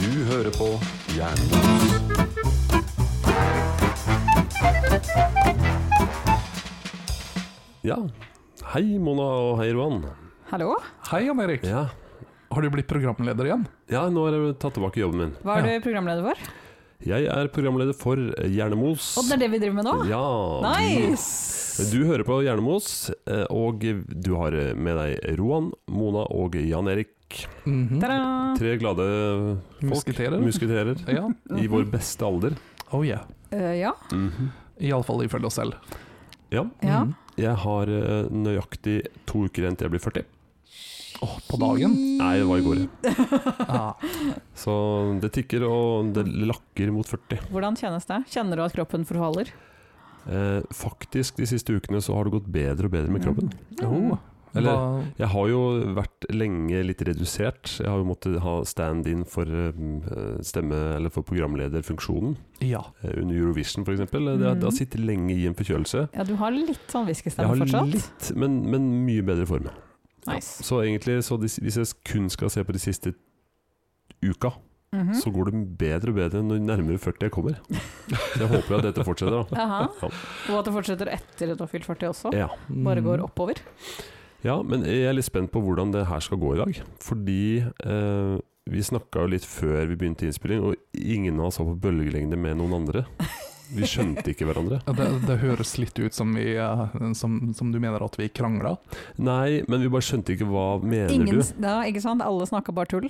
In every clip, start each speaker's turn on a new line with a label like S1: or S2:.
S1: Du hører på Jernbanen. Ja. Hei, Mona og hei, Roan.
S2: Hallo?
S3: Hei, Jan Erik.
S1: Ja.
S3: Har du blitt programleder igjen?
S1: ja, nå har jeg tatt tilbake jobben min.
S2: Hva er
S3: Ja.
S2: du programleder for?
S1: Jeg er programleder for Jernemos.
S2: Og det er det vi driver med nå?
S1: Ja.
S2: Nice!
S1: Du hører på Jernemos, eh, og du har med deg Roan, Mona og Jan Erik.
S3: Mhm.
S2: Ta-da!
S1: Tre glade folk.
S3: Musketerer.
S1: Musketerer.
S3: Ja.
S1: I vår beste alder.
S3: Oh yeah.
S2: Eh, ja.
S3: Iallfall ifølge oss selv.
S1: Ja.
S2: ja.
S3: Mhm.
S1: Jeg har eh, nøyaktig to uker igjen til jeg blir 40.
S3: Åh, på dagen?
S1: Nei, det var i går.
S3: Ah.
S1: Så det tikker, og det lakker mot 40.
S2: Hvordan kjennes det? Kjenner du at kroppen forfaller?
S1: Eh, faktisk, de siste ukene så har det gått bedre og bedre med kroppen.
S2: Mm.
S3: Oh.
S1: Eller-
S3: Hva,
S1: Jeg har jo vært lenge litt redusert. Jeg har jo måttet ha stand-in for eh, stemme- eller for programlederfunksjonen.
S3: ja.
S1: eh, Under Eurovision, f.eks. Det har- det har sittet lenge i en forkjølelse.
S2: Ja, du har litt sånn
S1: Jeg
S2: hviskestemme
S1: har
S2: fortsatt?
S1: litt, men, men mye bedre form.
S2: Nice.
S1: Så egentlig, så de, hvis jeg kun skal se på de siste uka,
S2: Mhm.
S1: så går det bedre og bedre når nærmere 40 jeg kommer. Så jeg håper jo at dette fortsetter, da.
S2: Aha. Og at det fortsetter etter at du har fylt 40 også?
S1: Ja.
S2: Bare går
S3: Mm.
S2: oppover?
S1: ja, men jeg er litt spent på hvordan det her skal gå i dag. Fordi eh, vi snakka jo litt før vi begynte innspilling, og ingen av oss var på bølgelengde med noen andre. Vi skjønte ikke hverandre.
S3: Ja, Det, det høres litt ut som, vi, eh, som, som du mener at vi krangla.
S1: Nei, men vi bare skjønte ikke hva mener
S2: Ingen,
S1: du?
S2: ja, ikke sant? Alle snakker bare tull?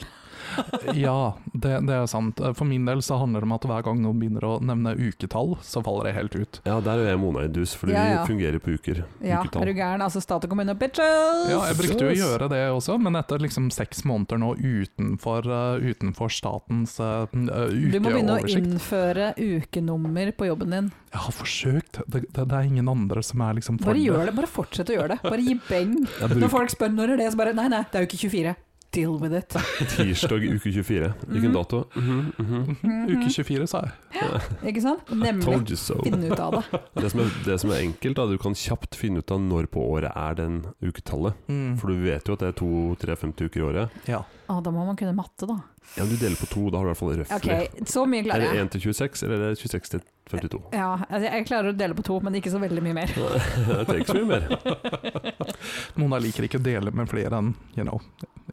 S3: Ja, det, det er sant. For min del så handler det om at hver gang noen begynner å nevne uketall, så faller jeg helt ut.
S1: Ja, der er jeg og Mona i dus, fordi
S2: Ja, ja.
S1: vi fungerer på uker.
S2: Ja,
S1: uketall.
S2: er du gæren? Altså stat og kommune, bitches!
S3: Ja, jeg brukte jo å
S1: Yes.
S3: gjøre det også, men etter liksom seks måneder nå utenfor, eh, utenfor statens uh,
S2: Du må begynne å
S3: ukeoversikt
S2: innføre ukenummer på jobben din.
S3: Jeg har forsøkt. Det, det, det er ingen andre som er liksom for
S2: Bare gjør det, bare fortsett å gjøre det. Bare gi beng.
S1: Jeg
S2: Når
S1: bruker
S2: folk spør når er det, så bare Nei, nei, det er jo ikke 24. Deal with it.
S1: tirsdag uke 24. Hvilken
S2: Mhm.
S1: dato? Mhm, mhm.
S3: Uke 24, sa jeg.
S2: Ikke sant?
S1: Told
S2: Nemlig
S1: you so.
S2: finne ut av det.
S1: Det som, er, det som er enkelt, da, du kan kjapt finne ut av når på året er den uketallet.
S3: Mm.
S1: For du vet jo at det er 2-3-50 uker i året.
S3: Ja.
S2: Å, da må man kunne matte, da.
S1: Ja, du deler på to, da har du i hvert fall røftlig.
S2: Ok, så mye
S1: Er
S2: klarer
S1: det
S2: jeg.
S1: 1 til 26, eller er det 26 til 52?
S2: Ja, altså, jeg klarer å dele på to, men ikke så veldig mye mer.
S1: det trenger ikke så mye mer.
S3: Mona liker ikke å dele med flere enn you know,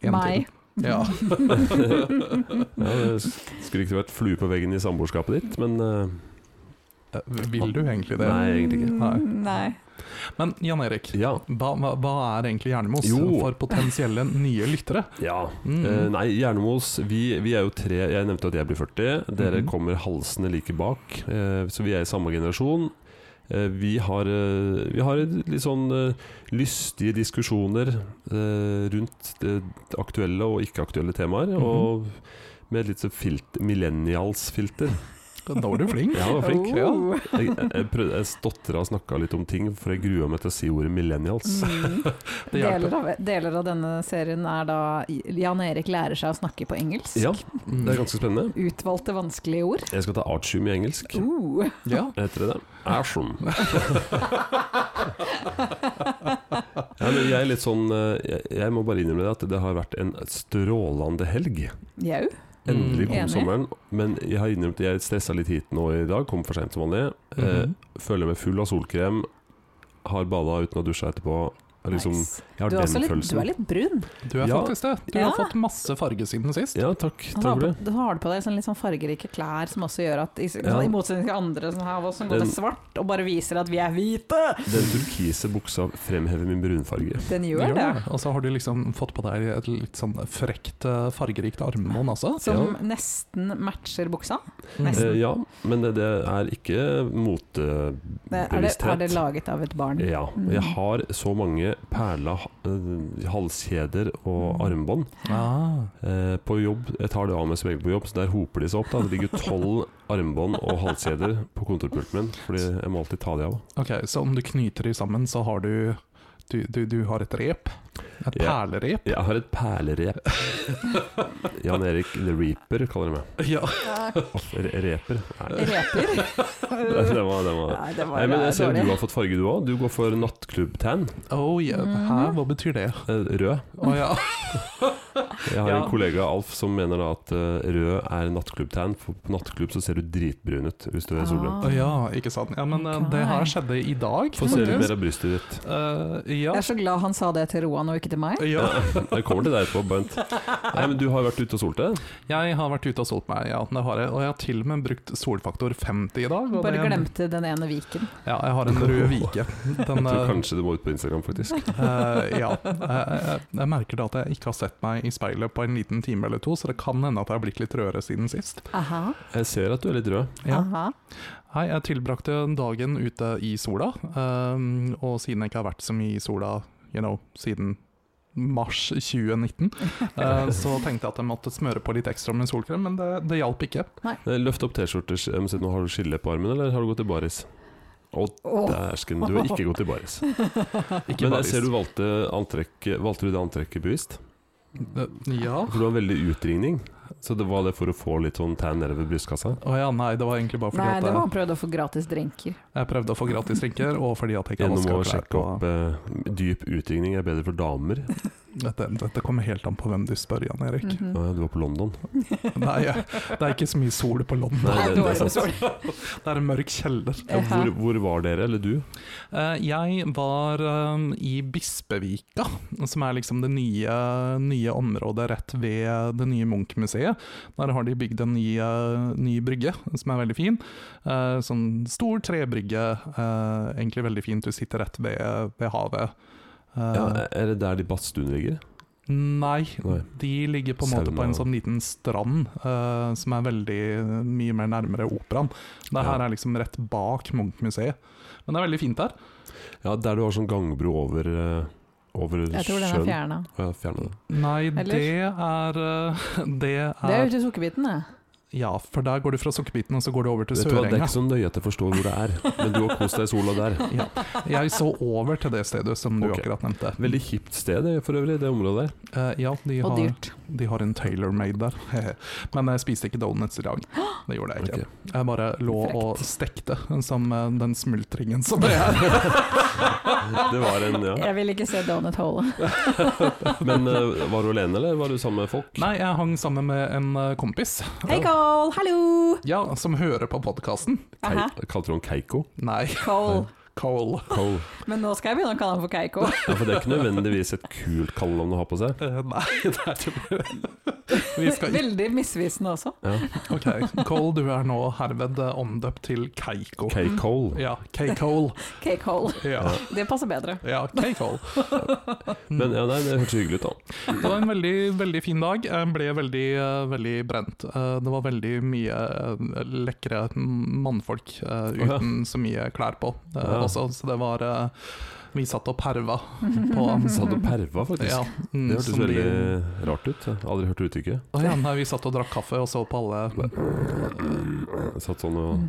S3: én til.
S2: Meg. Mhm.
S3: Ja.
S1: Ja, det skulle ikke vært flue på veggen i samboerskapet ditt, men eh,
S3: Eh, Vil du egentlig det?
S1: Nei, egentlig ikke.
S3: Nei.
S2: Mm, Nei.
S3: Men Jan Erik,
S1: ja.
S3: hva, hva, hva er egentlig Hjernemos
S1: Jo.
S3: for potensielle nye lyttere?
S1: ja.
S3: Mm.
S1: Eh, nei, Jernemos, vi, vi er jo tre Jeg nevnte at jeg blir 40. Dere
S3: Mhm.
S1: kommer halsende like bak, eh, så vi er i samme generasjon. Eh, vi, har, eh, vi har litt sånn eh, lystige diskusjoner eh, rundt det aktuelle og ikke-aktuelle temaer. Og med et litt sånn filt, millennials-filter.
S3: Da var du flink.
S1: Jeg var flink.
S2: Oh.
S1: Jeg, jeg, prøvde, jeg stotra og snakka litt om ting, for jeg grua meg til å si ordet millennials.
S2: Mm.
S3: Det hjelper.
S2: Deler, av, deler av denne serien er da Jan Erik lærer seg å snakke på engelsk.
S1: Ja,
S3: Mm.
S1: det er ganske spennende.
S2: Utvalgte vanskelige ord.
S1: Jeg skal ta artium i engelsk.
S3: Mm.
S2: Uh.
S3: ja.
S1: Heter det det? Ashram. ja, men jeg er litt sånn eh, jeg, jeg må bare innrømme det at det har vært en strålende helg.
S2: Jau.
S1: Endelig
S3: Mm.
S1: kom
S2: Enig.
S1: sommeren. Men jeg har innrømt jeg stressa litt hit nå i dag. Kom for seint som vanlig. Eh,
S3: Mhm.
S1: føler meg full av solkrem. Har bada uten å ha dusja etterpå. Jeg, liksom,
S2: Nice.
S1: jeg har
S2: Du er, også
S1: den
S2: litt, du
S1: følelsen.
S2: er litt brun.
S3: Du er
S1: Ja.
S3: faktisk det. Du
S2: Ja.
S3: har fått masse farge siden sist.
S1: Ja, takk. Takk
S2: Og så
S1: for
S2: har,
S1: det.
S2: du- så har du på deg sånn litt sånn fargerike klær som også gjør at I,
S1: Ja.
S2: i motsetning til andre sånn her, som
S1: Den-
S2: går med svart og bare viser at vi er hvite.
S1: Den turkise buksa fremhever min brunfarge.
S2: Den gjør det.
S3: Og så har du liksom fått på deg et litt sånn frekt, eh, fargerikt armbånd også. Mm.
S2: Som nesten matcher buksa.
S1: Eh,
S2: Nesten.
S1: ja, men det, det er ikke
S2: Det, er, det, er det
S1: motebevissthet.
S2: laget av et barn?
S1: Ja. Jeg har så mange perla eh, halskjeder og armbånd
S3: Ah.
S1: eh, på jobb. Jeg tar det av meg som regel på jobb, så der hoper de seg opp. Da. Det ligger tolv armbånd og halskjeder på kontorpulten min, fordi jeg må alltid ta de av.
S3: Ok, så om du knyter de sammen, så har du Du, du, du har et rep? Et
S1: Ja.
S3: perlerep?
S1: Jeg har et perlerep. Jan Erik The Reaper kaller de meg.
S3: Ja.
S1: Re- Reper. Nei,
S2: Reper.
S1: det var, det var.
S2: Nei, det var
S1: Nei, men jeg ser jo
S2: dårlig.
S1: du har fått farge, du òg. Du går for nattklubb-tan.
S3: Oh, yeah.
S2: Mhm.
S3: Hæ, hva betyr det?
S1: eh, Rød.
S3: Å ja.
S1: Jeg har
S3: Ja.
S1: en kollega, Alf, som mener da at eh, rød er nattklubb-tan. For på nattklubb så ser du dritbrun ut hvis du er solbrent.
S3: Å ja, ikke sant. Ja, men eh, det her skjedde i dag.
S1: Få se litt
S3: faktisk.
S1: mer av brystet ditt.
S3: Eh, ja.
S2: Jeg er så glad han sa det til Roan og ikke til meg.
S3: ja.
S1: Jeg kommer til deg etterpå, Bernt. Nei, men du har vært ute og solt deg?
S3: Jeg har vært ute og solgt meg, ja, det har jeg. Og jeg har til og med brukt solfaktor 50 i dag. Og
S2: Bare
S3: det,
S2: glemte den ene viken.
S3: Ja, jeg har en rød vike. Den,
S1: Jeg tror
S3: eh,
S1: kanskje det må ut på Instagram, faktisk.
S3: eh, ja. Jeg, jeg, jeg merker da at jeg ikke har sett meg i speilet på en liten time eller to, så det kan hende at jeg har blitt litt rødere siden sist.
S2: Aha,
S1: Jeg ser at du er litt rød.
S3: Ja.
S2: aha.
S3: Hei, jeg tilbrakte dagen ute i sola, eh, og siden jeg ikke har vært så mye i sola, you know, siden mars 2019, eh, så tenkte jeg at jeg måtte smøre på litt ekstra med solkrem, men det, det hjalp ikke.
S1: Eh, Løft opp T-skjorter. Jeg må si, Nå har du skille på armen, eller har du gått i baris? Å,
S2: Åh.
S1: dæsken, du har ikke gått i baris.
S3: Ikke
S1: Men
S3: bare-
S1: jeg ser du valgte, antrekk, valgte du det antrekket bevisst.
S3: Eh, Ja.
S1: For du har veldig utringning. Så det var det for å få litt sånn tan nede ved brystkassa.
S3: Å ja, nei, det var egentlig bare fordi
S2: Nei,
S3: at
S2: det var
S3: jeg,
S2: han prøvde å få gratis drinker.
S3: jeg prøvde å få gratis drinker, og fordi at jeg ikke har
S1: Gjennom å
S3: vaska klær
S1: sjekke
S3: på
S1: opp eh, dyp utringning er bedre for damer.
S3: dette, dette kommer helt an på hvem du spør, Jan Erik.
S2: Mhm.
S1: Å ja, du var på London.
S2: Mm.
S3: Nei, jeg- det er ikke så mye sol på London.
S1: Nei,
S2: Nei,
S1: det-
S2: det
S1: det er
S2: var så
S1: sant.
S2: sorry.
S3: Det er en mørk kjeller.
S1: Ja,
S2: Ja.
S1: hvor, hvor var dere, eller du?
S3: Eh, Jeg var eh, i Bispevika, som er liksom det nye, nye området rett ved det nye Munch-museet. Der har de bygd en ny, eh, ny brygge, som er veldig fin. Eh, Sånn stor trebrygge, eh, egentlig veldig fint. Du sitter rett ved, ved havet. Eh,
S1: Ja, er det der de badstuen ligger?
S3: Nei,
S1: Nei.
S3: de ligger på en måte
S1: Sauna.
S3: på en sånn liten strand eh, som er veldig mye mer nærmere operaen. Det her
S1: Ja.
S3: er liksom rett bak Munch-museet. Men det er veldig fint der.
S1: Ja, der du har sånn gangbro over, eh, over sjøen.
S2: Jeg tror den er fjerna.
S1: Å ja, fjerna det.
S3: Nei,
S2: Ellers?
S3: det er eh, Det
S2: Det er
S3: er
S2: jo til sukkerbiten, det.
S3: Ja, for der går du fra Sukkerbiten og så går du over til
S1: Vet du hva, det er
S3: Sørenga.
S1: ikke så nøye at jeg forstår hvor det er, men du har kost deg i sola der.
S3: Ja. Jeg så over til det stedet som du
S1: Ok.
S3: akkurat nevnte.
S1: Veldig hipt sted det, for øvrig, det området der.
S3: Eh, ja, de
S2: Og
S3: har,
S2: dyrt.
S3: de har en tailor-made der. Men jeg spiste ikke donuts i dag. Det gjorde jeg ikke.
S1: Ok.
S3: Jeg bare lå
S2: Frekt.
S3: og stekte som eh, den smultringen som det er.
S1: Det var en, ja.
S2: Jeg vil ikke se Donut Hole.
S1: Men eh, var du alene, eller var du sammen med folk?
S3: Nei, jeg hang sammen med en eh, kompis.
S2: Hei, Cole! Hallo!
S3: Ja, som hører på podkasten.
S1: Kei, kalte du han Keiko?
S3: Nei,
S2: Cole.
S3: Cole.
S1: Cole.
S2: Men nå skal jeg begynne å kalle han for Keiko.
S1: Ja, for det er ikke nødvendigvis et kult kallenavn å ha på seg.
S3: Eh, nei, det er ikke Vi skal
S2: Veldig misvisende også.
S1: Ja.
S3: Ok, Cole, du er nå herved eh, omdøpt til Keiko.
S1: K-Cole.
S3: Ja, K-Cole.
S2: K-Cole.
S3: Ja,
S2: Det passer bedre.
S3: ja K-Cole.
S1: Men ja, nei, det hørtes hyggelig ut, da.
S3: Det var en veldig, veldig fin dag. Jeg ble veldig, eh, veldig brent. Eh, Det var veldig mye eh, lekre mannfolk eh,
S1: ja.
S3: uten så mye klær på eh,
S1: Ja.
S3: også, så det var eh, Vi satt og perva på
S1: Satt og perva, faktisk.
S3: Mm-hmm. ja, mm,
S1: Det hørtes
S3: som de-
S1: veldig rart ut. Jeg har Aldri hørt det uttrykket.
S3: Å ja, nei, vi satt og drakk kaffe og så på alle
S1: Satt sånn og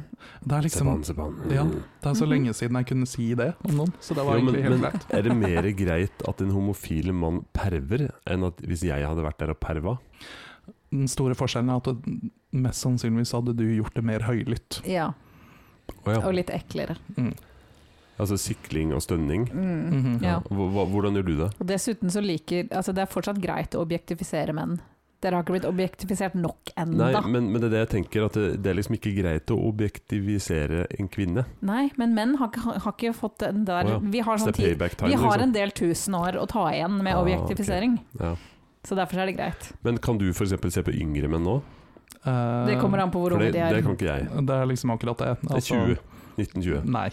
S3: Det er liksom
S1: Sepan, sepan. Mm.
S3: ja, det er så lenge siden jeg kunne si det om noen, så det var
S1: Jo, men-
S3: egentlig helt
S1: men-
S3: greit.
S1: Er det mer greit at en homofil mann perver, enn at hvis jeg hadde vært der og perva?
S3: Den store forskjellen er at du- mest sannsynligvis hadde du gjort det mer høylytt.
S2: Ja,
S1: Å ja.
S2: og litt eklere.
S3: Mm.
S1: Altså sikling og stønning.
S2: Mm.
S3: Mhm.
S2: Ja.
S1: Hva- hva- Hvordan gjør du det?
S2: Og dessuten så liker Altså, det er fortsatt greit å objektifisere menn. Dere har ikke blitt objektifisert nok
S1: Nei,
S2: ennå.
S1: men, men det er det jeg tenker, at det, det er liksom ikke greit å objektivisere en kvinne.
S2: Nei, men menn har, ikke- har ikke fått den der
S1: Å ja.
S2: Vi har
S1: Så
S2: sånn
S1: det er
S2: tid
S1: payback time,
S2: Vi har
S1: liksom.
S2: en del tusen år å ta igjen med
S1: Ah,
S2: objektifisering,
S1: Ja.
S2: så derfor er det greit.
S1: Men kan du f.eks. se på yngre menn nå?
S3: Eh,
S2: Det kommer an på hvor
S1: For det,
S2: unge de
S1: det
S2: er.
S1: kan ikke jeg.
S3: Det er liksom akkurat det.
S1: Det er 20. 1920.
S3: Nei.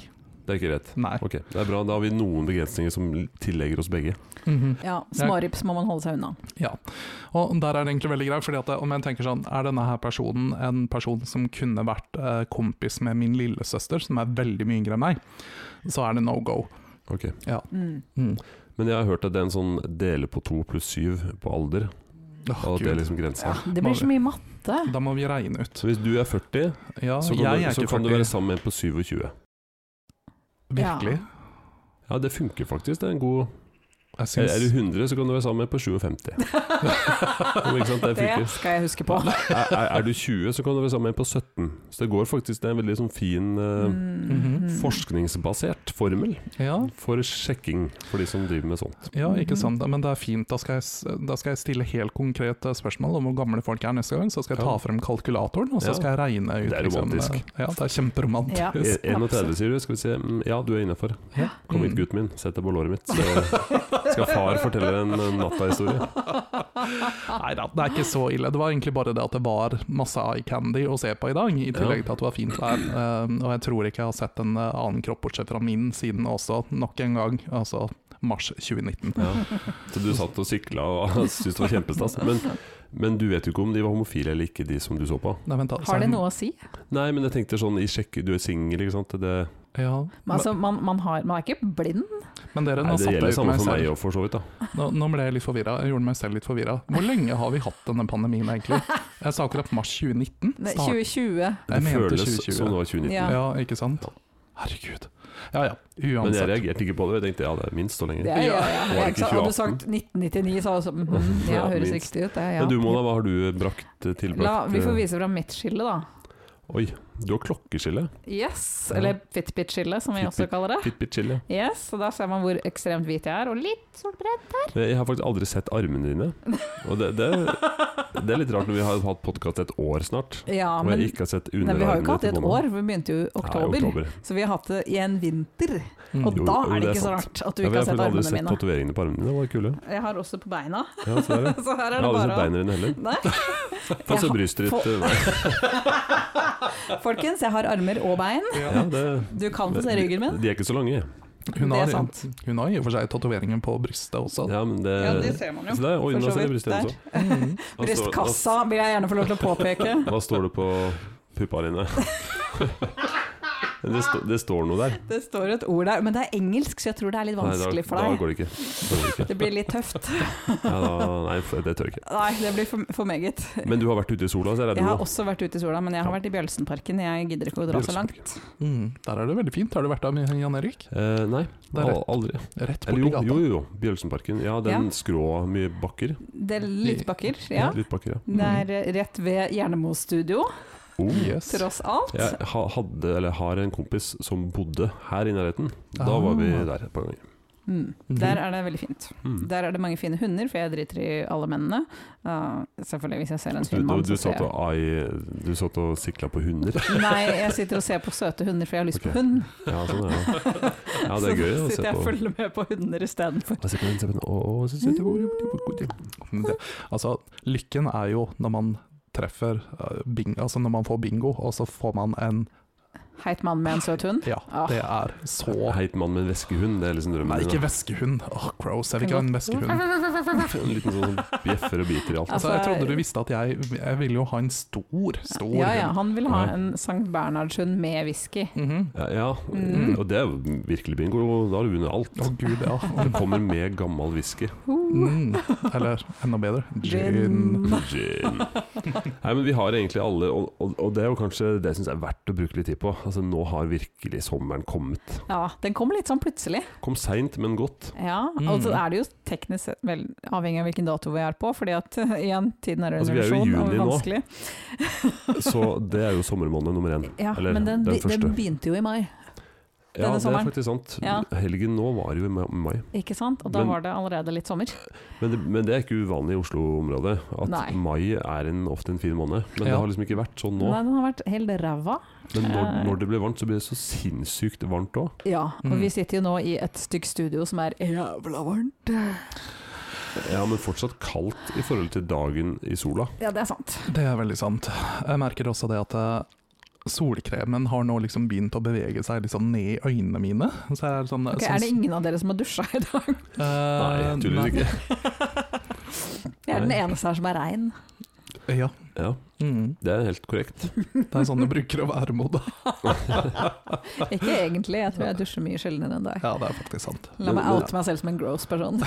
S1: Det er ikke greit.
S3: nei.
S1: Ok, det er bra. Da har vi noen begrensninger som tillegger oss begge.
S3: Mhm.
S2: Ja, Smårips må man holde seg unna.
S3: Ja. Og der er det egentlig veldig greit, fordi at om jeg tenker sånn, er denne her personen en person som kunne vært eh, kompis med min lillesøster, som er veldig mye yngre enn meg, så er det no go.
S1: Ok.
S2: Mm.
S3: Mm.
S1: Men jeg har hørt at det er en sånn dele på to pluss syv på alder.
S3: Åh,
S1: Og at det er
S3: Gud.
S1: liksom grensa.
S2: Det blir så mye matte.
S3: Da må vi regne ut.
S1: Så hvis du er 40,
S3: Ja,
S1: så kan,
S3: jeg
S1: du,
S3: er
S1: så
S3: ikke
S1: kan du være
S3: 40.
S1: sammen med en på 27.
S3: Virkelig?
S1: Ja, det funker faktisk. Det er en god
S3: Jeg
S1: Er,
S3: syns,
S1: er du 100, så kan du være sammen med en på 57. ikke sant, det funker.
S2: det skal jeg huske på.
S1: Er, er, er du 20, så kan du være sammen med en på 17. Så det går faktisk Det er en veldig sånn fin eh,
S2: Mm.
S1: forskningsbasert formel
S3: ja,
S1: for sjekking for de som driver med sånn. sånt.
S3: ja, ikke sant. Men det er fint. Da skal, jeg, s- da skal jeg stille helt konkrete spørsmål om hvor gamle folk er neste gang. Så skal jeg ta
S1: Ja.
S3: frem kalkulatoren, og
S1: Ja.
S3: så skal jeg regne ut liksom, eh,
S1: Det er romantisk.
S3: ja, det er kjemperomantisk.
S2: Ja.
S1: E- 31, sier du. Skal vi se. Mm, Ja, du er innafor.
S3: Ja.
S1: Kom hit,
S3: Mm.
S1: gutten min. Sett deg på låret mitt. Så skal far fortelle en eh, nattahistorie.
S3: Nei da, det er ikke så ille. Det var egentlig bare det at det var masse eye candy å se på i dag, i tillegg til at det var fint vær. Eh, og jeg tror ikke jeg har sett en eh, annen kropp bortsett fra min siden også, nok en gang. Altså mars 2019.
S1: Ja. Så du satt og sykla og syntes det var kjempestas. Men, men du vet jo ikke om de var homofile eller ikke, de som du så på.
S3: Nei, vent da.
S2: Har det noe å si?
S1: Nei, men jeg tenkte sånn i sjekk, du er singel, ikke sant. Det,
S3: Ja.
S2: Men, altså, man, man, har, man er ikke blind.
S3: Men dere,
S1: nei,
S3: nå
S1: det
S3: satte
S1: gjelder
S3: jeg ut
S1: samme
S3: meg
S1: for meg
S3: selv.
S1: òg, for så vidt. da
S3: Nå, nå ble jeg litt forvirra. Jeg gjorde meg selv litt forvirra. Hvor lenge har vi hatt denne pandemien, egentlig? Jeg sa akkurat mars 2019.
S2: Nei,
S3: Start-
S2: 2020.
S1: Det
S3: Jeg mente
S1: føles
S3: 2020.
S1: som det var 2019.
S2: Ja.
S3: Ja, ikke sant? Herregud. Ja ja,
S1: Men jeg
S3: uansett.
S1: reagerte ikke på det. Jeg tenkte ja, det er minst så lenge.
S2: Det er, ja, ja.
S1: Var det ikke
S2: Så
S1: 2018?
S2: Hadde du sagt 1999, så hadde jeg sånn mm, Ja,
S1: Ja,
S2: høres
S1: minst.
S2: riktig ut. Det, ja.
S1: Men du Mona, hva har du brakt tilbrakt?
S2: La, vi
S1: eh,
S2: får vise fram mitt skille, da.
S1: Oi, du har klokkeskille.
S2: Yes, eller Fitbit-skille, som vi også
S1: Fitbit.
S2: kaller det.
S1: Fitbit-skille.
S2: Yes, og Da ser man hvor ekstremt hvit jeg er, og litt solbrent.
S1: Eh, Jeg har faktisk aldri sett armene dine. Og det, det, det er litt rart når vi har hatt podkast et år snart,
S2: Ja,
S1: og
S2: men
S1: jeg ikke har sett
S2: nei, vi har jo
S1: underarmene
S2: ikke hatt det
S1: til
S2: et
S1: Mona.
S2: år, vi begynte jo i
S1: Nei,
S2: oktober.
S1: oktober.
S2: Så vi har hatt det i en vinter,
S3: Mm.
S2: og
S1: Jo,
S2: da
S1: jo, det
S2: er det
S1: er
S2: ikke så
S1: sant.
S2: rart at du
S1: Ja,
S2: ikke
S1: jeg
S2: har sett
S1: har aldri
S2: armene
S1: sett
S2: mine.
S1: tatoveringene på armene dine. Var kule.
S2: Jeg har også på beina,
S1: Ja, så er det.
S2: så her
S1: Jeg har
S2: er det
S1: aldri sett
S2: bare å
S1: beina dine heller.
S2: Nei.
S1: Få se
S2: Jeg har-
S1: brystet ditt.
S2: få-
S1: eh,
S2: Folkens, jeg har armer og bein.
S1: Ja, det,
S2: Du kan få se ryggen min.
S1: De er ikke så lange.
S3: Hun
S2: Det er
S3: har,
S2: sant.
S3: hun har i og for seg tatoveringer på brystet også.
S1: Ja, men det,
S2: ser man
S1: så der, oi,
S2: for
S1: nå
S2: så
S1: ser jeg
S2: vidt
S1: brystet igjen
S2: der.
S1: også. Altså,
S3: Mm.
S1: Hva står-
S2: Brystkassa vil jeg gjerne få lov til å påpeke.
S1: Hva står det på puppa dine? det, sto, det står noe der.
S2: Det står et ord der, men det er engelsk, så jeg tror det er litt vanskelig
S1: da,
S2: for
S1: da
S2: deg.
S1: går det ikke. Da går det ikke.
S2: Det blir litt tøft.
S1: Ja, da, nei, f- det tør jeg ikke.
S2: Nei, det blir for, for meget.
S1: Men du har vært ute i sola, ser jeg.
S2: Jeg
S1: nå.
S2: har også vært ute i sola, men jeg har
S1: Ja.
S2: vært i Bjølsenparken. Jeg gidder ikke å dra så langt.
S3: Mm. Der er det veldig fint. Har du vært der, Jan Erik?
S1: Eh, nei,
S3: Det er
S1: al- aldri.
S3: Rett
S1: Eller
S3: borti
S1: jo,
S3: gata.
S1: jo, jo, jo. Bjølsenparken. Ja, den
S2: Ja.
S1: skrå mye bakker.
S2: Det er litt bakker, ja.
S1: Litt bakker, ja.
S2: Det er eh, rett ved Jernemo studio,
S1: Oh.
S3: Yes.
S2: tross alt.
S1: Jeg ha, hadde, eller har en kompis som bodde her i nærheten. Da
S3: Ah.
S1: var vi der et par ganger.
S2: Mm.
S3: Mhm.
S2: Der er det veldig fint.
S1: Mm.
S2: Der er det mange fine hunder, for jeg driter i alle mennene. Uh, selvfølgelig, hvis jeg ser en
S1: Du,
S2: fin
S1: du,
S2: mann,
S1: du,
S2: så ser
S1: satt og
S2: jeg
S1: ai, du satt og sikla på hunder.
S2: Nei, jeg sitter og ser på søte hunder, for jeg har lyst
S1: Ok.
S2: på hund.
S1: Ja, sånn er det. Ja, det er gøy å
S2: så da sitter
S1: se
S2: jeg og
S1: på.
S2: følger med på hunder istedenfor.
S1: Og se på den, se på den. Å, å, så søt du var.
S3: Men det- Altså, lykken er jo når man treffer eh, bing, Altså når man får bingo, og så får man en
S2: Heit mann med en søt hund.
S3: Ja,
S2: Ah.
S3: det er så
S1: Heit mann med en veskehund, det er liksom drømmen
S3: Nei,
S1: min, da.
S3: ikke veskehund. Åh, gross. Jeg vil ikke ha en veskehund.
S1: En liten sånn som bjeffer og biter i alt.
S3: Altså, jeg trodde du visste at jeg Jeg ville jo ha en stor, stor
S2: Ja ja, han vil ha
S1: Ja.
S2: en Sankt Bernhardshund med whisky.
S3: hund. Mhm.
S1: Ja, ja.
S2: Mm.
S1: og det er jo virkelig bingo. Da har du vunnet alt.
S3: Å gud, ja.
S1: Det kommer med gammel whisky.
S2: Uh.
S3: Mm. Eller enda bedre, gin.
S2: Gin.
S1: Gin. Nei, men vi har egentlig alle, og, og, og det er jo kanskje det jeg syns er verdt å bruke litt tid på. Altså, nå har virkelig sommeren kommet.
S2: Ja, den kom litt sånn plutselig.
S1: Kom seint, men godt.
S2: Ja, Og så
S1: Mm.
S2: er det jo teknisk sett vel avhengig av hvilken dato vi er på, fordi at eh, igjen, tiden er
S1: Altså,
S2: under
S1: vi er jo i
S2: revisjon og
S1: juni nå.
S2: vanskelig.
S1: Så det er jo sommermåned nummer én.
S2: Ja,
S1: Eller
S2: men den,
S1: den
S2: be-
S1: første.
S2: den begynte jo i mai,
S1: Ja,
S2: Denne
S1: det er
S2: sommeren.
S1: faktisk sant.
S2: Ja.
S1: Helgen nå var jo i ma- mai.
S2: ikke sant? Og da
S1: Men-
S2: var det allerede litt sommer.
S1: Men det, men det er ikke uvanlig i Oslo-området. At
S2: Nei.
S1: mai er en, ofte en fin måned. Men det
S3: Ja.
S1: har liksom ikke vært sånn nå.
S2: Nei, den har vært helt ræva.
S1: Men når,
S2: Eh.
S1: når det blir varmt, så blir det så sinnssykt varmt òg.
S2: Ja, og
S3: Mm.
S2: vi sitter jo nå i et stygg studio som er jævla varmt.
S1: Ja, men fortsatt kaldt i forhold til dagen i sola.
S2: Ja, det er sant.
S3: Det er veldig sant. Jeg merker også det at eh, solkremen har nå liksom begynt å bevege seg liksom ned i øynene mine. Så jeg er sånn,
S2: Ok,
S3: sånn-
S2: er det ingen av dere som har dusja i dag?
S3: Eh,
S1: Nei, tydeligvis
S3: nei.
S1: ikke.
S2: Jeg er den
S1: Nei.
S2: eneste her som er rein.
S3: Ja,
S1: Ja,
S3: mm.
S1: det er helt korrekt.
S3: Det er sånn det bruker å være, Moda.
S2: Ikke egentlig, jeg tror jeg dusjer mye sjeldnere enn deg.
S3: Ja, det er faktisk sant.
S2: La meg
S1: Men-
S2: oute meg selv som en gross person.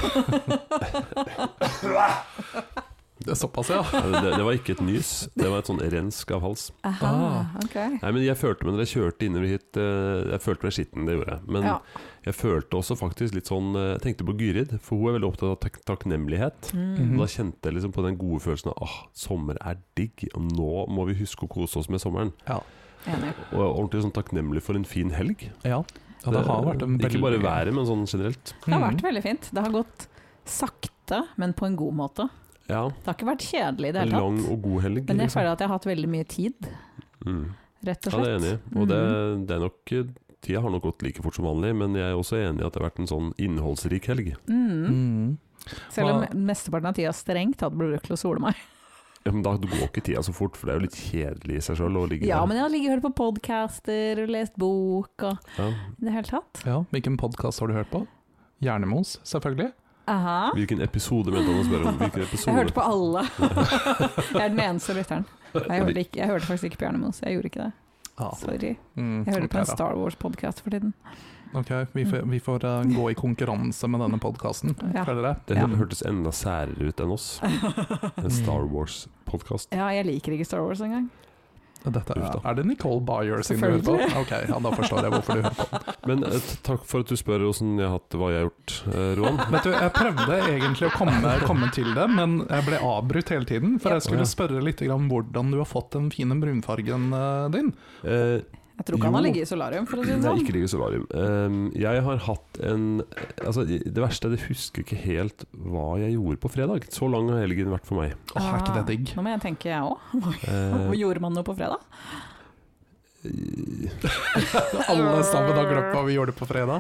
S3: Det er såpass, ja.
S1: Altså, Det, det var ikke et nys, det var et sånn rensk av hals.
S2: Aha,
S3: Ah.
S2: ok.
S1: Nei, men jeg følte meg når jeg kjørte innover hit eh, Jeg følte meg skitten, det gjorde jeg. Men
S2: Ja.
S1: jeg følte også faktisk litt sånn eh, Jeg tenkte på Gyrid, for hun er veldig opptatt av tak takknemlighet.
S2: Mm.
S3: Mhm.
S1: Da kjente jeg liksom på den gode følelsen av ah, sommer er digg, og nå må vi huske å kose oss med sommeren.
S2: Enig.
S1: Og jeg var ordentlig sånn takknemlig for en fin helg. Eh,
S3: Ja, ja det har vært en veldig Mm.
S1: Ikke bare været, men sånn generelt.
S2: Det har vært veldig fint. Det har gått sakte, men på en god måte.
S1: Ja,
S2: Det har ikke vært kjedelig i det
S1: en
S2: hele
S1: lang
S2: tatt.
S1: og god helg.
S2: Men jeg
S1: liksom.
S2: føler at jeg har hatt veldig mye tid,
S1: Mm.
S2: rett og
S1: Ja, det er jeg
S2: slett. Mm.
S1: enig i. Og det, det er nok Tida har nok gått like fort som vanlig, men jeg er også enig i at det har vært en sånn innholdsrik helg.
S2: Mm.
S3: Mm.
S2: Selv om
S3: Hva-
S2: mesteparten av tida strengt tatt ble brukt til å sole meg.
S1: Ja, men da går ikke tida så fort, for det er jo litt kjedelig i seg sjøl å ligge
S2: Ja,
S1: der.
S2: men jeg har ligget og hørt på podcaster og lest bok og
S1: Ja.
S2: i det hele tatt.
S3: Ja, Hvilken podkast har du hørt på? Hjernemos, selvfølgelig.
S2: Aha.
S1: Hvilken episode mente han å spørre om? Hvilken episode?
S2: Jeg hørte på alle. jeg er den eneste lytteren. Nei, Jeg hørte, ikke, jeg hørte faktisk ikke på Hjernemos. Jeg gjorde ikke det.
S3: Ja.
S2: Sorry.
S3: Mm,
S2: Jeg hører
S3: ok
S2: på en
S3: da.
S2: Star Wars-podkast for tiden.
S3: Ok, vi får, vi får eh, gå i konkurranse med denne podkasten,
S2: Ja.
S3: føler jeg.
S1: Det
S2: Ja.
S1: hørtes enda særere ut enn oss. En Star Wars-podkast.
S2: Ja, jeg liker ikke Star Wars engang.
S3: Dette
S1: Uff
S3: er,
S1: da.
S3: er det Nicole Byer sin du hører på?
S2: Selvfølgelig.
S3: Ok, ja, Da forstår jeg hvorfor du hører på.
S1: Men eh, t- takk for at du spør åssen jeg har hatt hva jeg har gjort, eh, Roan.
S3: Vet du, Jeg prøvde egentlig å komme, komme til det, men jeg ble avbrutt hele tiden. For jeg skulle spørre litt grann hvordan du har fått den fine brunfargen eh, din.
S1: Eh,
S2: Jeg tror ikke han har
S1: Jo.
S2: ligget i solarium, for å si det
S1: Nei,
S2: sånn.
S1: ikke ligge i solarium. Ehm, jeg har hatt en Altså, det verste er at jeg husker ikke helt hva jeg gjorde på fredag. Så lang har helgen vært for meg.
S3: Åh, er ikke det digg?
S2: Nå må jeg tenke, jeg òg.
S1: Eh,
S2: Gjorde man noe på fredag?
S3: Alle sammen har glemt hva vi gjorde på fredag.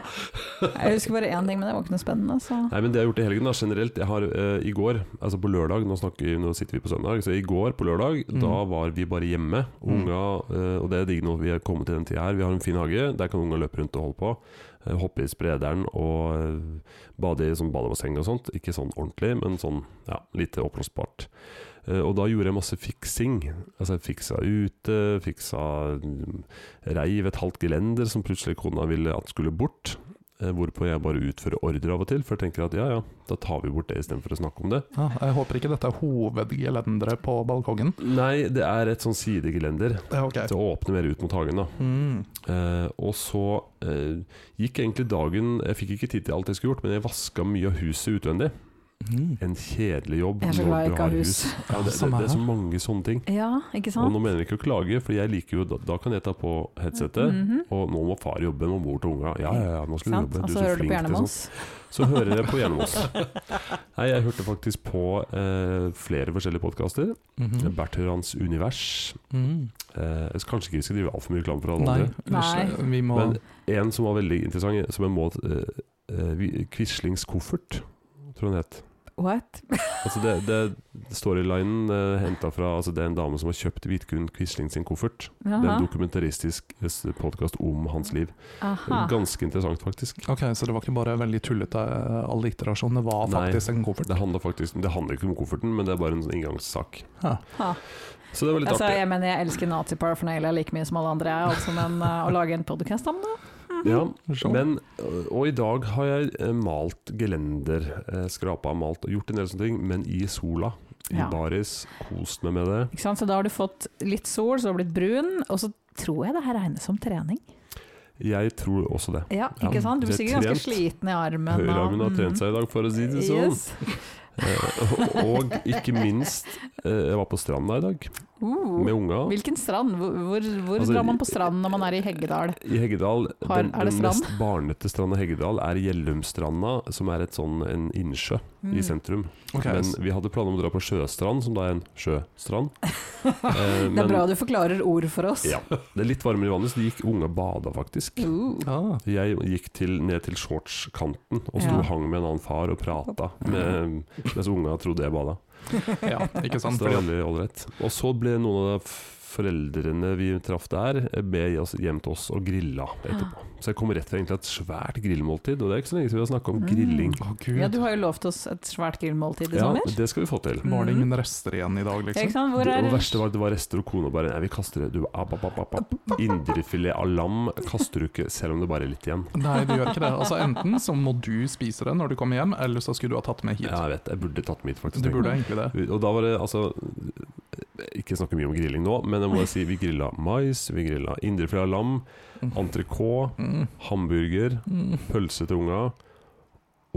S2: Jeg husker bare én ting, men det var ikke noe spennende. Så.
S1: Nei, men det jeg har gjort i helgen da, generelt Jeg har eh, i går, altså på lørdag nå, snakker, vi- nå sitter vi på søndag Så i går på lørdag,
S3: Mm.
S1: da var vi bare hjemme Unga, eh, og det er digg nå Vi har kommet til den tiden her Vi har en fin hage, der kan unga løpe rundt og holde på eh, Hoppe i sprederen og eh, Bade i sånn badebasseng og sånt Ikke sånn ordentlig, men sånn, ja, litt oppblåsbart Eh, og da gjorde jeg masse fiksing Altså jeg fiksa ute Fiksa mm, reiv et halvt gelender Som plutselig kona ville at skulle bort Eh, Hvorpå jeg bare utfører ordre av og til, for jeg tenker at ja ja, da tar vi bort det istedenfor å snakke om det.
S3: Ja, jeg håper ikke dette er hovedgelenderet på balkongen.
S1: Nei, det er et sånn sidegelender
S3: Ja, ok.
S1: til å åpne mer ut mot hagen, da.
S3: Mm.
S1: Eh, og så eh, gikk egentlig dagen Jeg fikk ikke tid til alt jeg skulle gjort, men jeg vaska mye av huset utvendig.
S3: Mm.
S1: En kjedelig jobb
S2: Jeg er så glad
S1: når
S2: jeg
S1: du
S2: ikke har
S1: har
S2: hus.
S1: hus. Ja, det, det,
S3: Samme
S1: det er så
S3: her.
S1: mange sånne ting.
S2: Ja, ikke
S1: Og
S2: sant?
S1: nå mener jeg ikke å klage, for jeg liker jo da, da kan jeg ta på headsetet.
S2: Mhm.
S1: Og nå må far jobbe, må mor til unga. Ja, ja, ja, nå skal du
S2: Sant?
S1: jobbe.
S2: Og
S1: Du er
S2: så
S1: så
S2: hører du på
S1: flink til sånt.
S2: Hjernemos.
S1: Så hører jeg på gjennom oss. Nei, jeg hørte faktisk på eh, flere forskjellige podkaster.
S2: Mm.
S3: Mhm.
S1: Bertrans univers.
S3: Mm.
S1: Eh, jeg skal- kanskje ikke vi skal drive altfor mye reklame for alle
S3: Nei,
S1: andre.
S3: unnskyld, vi må
S1: Men en som var veldig interessant, som jeg må eh, eh, vi- Quislings koffert, tror jeg den het.
S2: What?
S1: Altså det, det storylinen eh, henta fra altså Det er en dame som har kjøpt Vidkun Quisling sin koffert. Det er
S2: Aha.
S1: en dokumentaristisk podkast om hans liv.
S2: Aha.
S1: Ganske interessant, faktisk.
S3: Ok, Så det var ikke bare veldig tullete eh, alliterasjon, det var
S1: Nei.
S3: faktisk en koffert?
S1: Det handler faktisk Det handler ikke om kofferten, men det er bare en sånn inngangssak.
S2: Ha.
S1: Så det var litt
S2: Altså,
S1: artig.
S2: jeg mener, jeg elsker nazi-paraphernalia like mye som alle andre, jeg, altså, men eh, å lage en podkast om det
S1: Ja,
S3: Sånn.
S1: men, og og i dag har jeg eh, malt gelender, eh, skrapa og malt og gjort en del sånne ting, men i sola. I
S2: Ja.
S1: baris, kost meg med det.
S2: ikke sant? Så da har du fått litt sol, så har du blitt brun, og så tror jeg det her regnes som trening.
S1: Jeg tror også det.
S2: Ja,
S1: Ja,
S2: ikke sant? Du
S1: det er
S2: blir sikkert ganske
S1: trent.
S2: sliten i armen.
S1: Høyrearmen har trent seg i dag, for å si det sånn.
S2: Yes.
S1: Eh, og ikke minst, eh, jeg var på stranda i dag
S2: Uh,
S1: med unga.
S2: hvilken strand? Hvor, hvor, hvor
S1: Altså,
S2: drar man på stranden når man er i Heggedal?
S1: I Heggedal,
S2: Har-
S1: den,
S2: er det
S1: den
S2: strand?
S1: mest barnete stranda i Heggedal er Gjellumstranda, som er et sånn, en innsjø
S2: Mm.
S1: i sentrum.
S3: Ok,
S1: Men
S3: s-
S1: vi hadde planer om å dra på Sjøstrand, som da er en sjøstrand. Eh,
S2: Det er bra du forklarer ord for oss.
S1: Ja, det er litt varmere i vannet, så de gikk unge og bada faktisk.
S2: Uh,
S3: ja.
S1: Jeg gikk til, ned til shortskanten og sto
S2: Ja.
S1: og hang med en annen far og prata, med- mens unga trodde jeg bada.
S3: ja, ikke
S1: Så
S3: sant?
S1: det var
S3: Fordi,
S1: veldig ålreit. Og så ble noen av de f- foreldrene vi traff der, med oss hjem til oss og grilla etterpå. Så jeg kom rett fra egentlig et svært grillmåltid, og det er ikke så lenge siden vi har snakka om
S2: Mm.
S1: grilling.
S3: Å, gud.
S2: Ja, du har jo lovt oss et svært grillmåltid i
S1: Ja,
S2: sommer.
S1: det skal vi få til.
S3: Var det
S2: Mm.
S3: ingen rester igjen i dag,
S2: Ja,
S3: liksom?
S2: ikke sant? Hvor
S1: Det,
S2: er
S1: og det verste var at det var rester, og kona bare Nei, vi kaster det. Du, app, app, app, app, app. Indrefilet av lam kaster du ikke, selv om det bare er litt igjen.
S3: Nei, du gjør ikke det. Altså Enten så må du spise det når du kommer hjem, eller så skulle du ha tatt med hit.
S1: Ja, jeg vet, jeg burde tatt mitt, faktisk.
S3: Du burde egentlig det.
S1: Og da var det altså Ikke snakke mye om grilling nå, men jeg må bare si vi grilla mais, vi grilla indrefilet av lam, entrecôte,
S3: Mm.
S1: hamburger,
S3: Mm.
S1: pølse til unga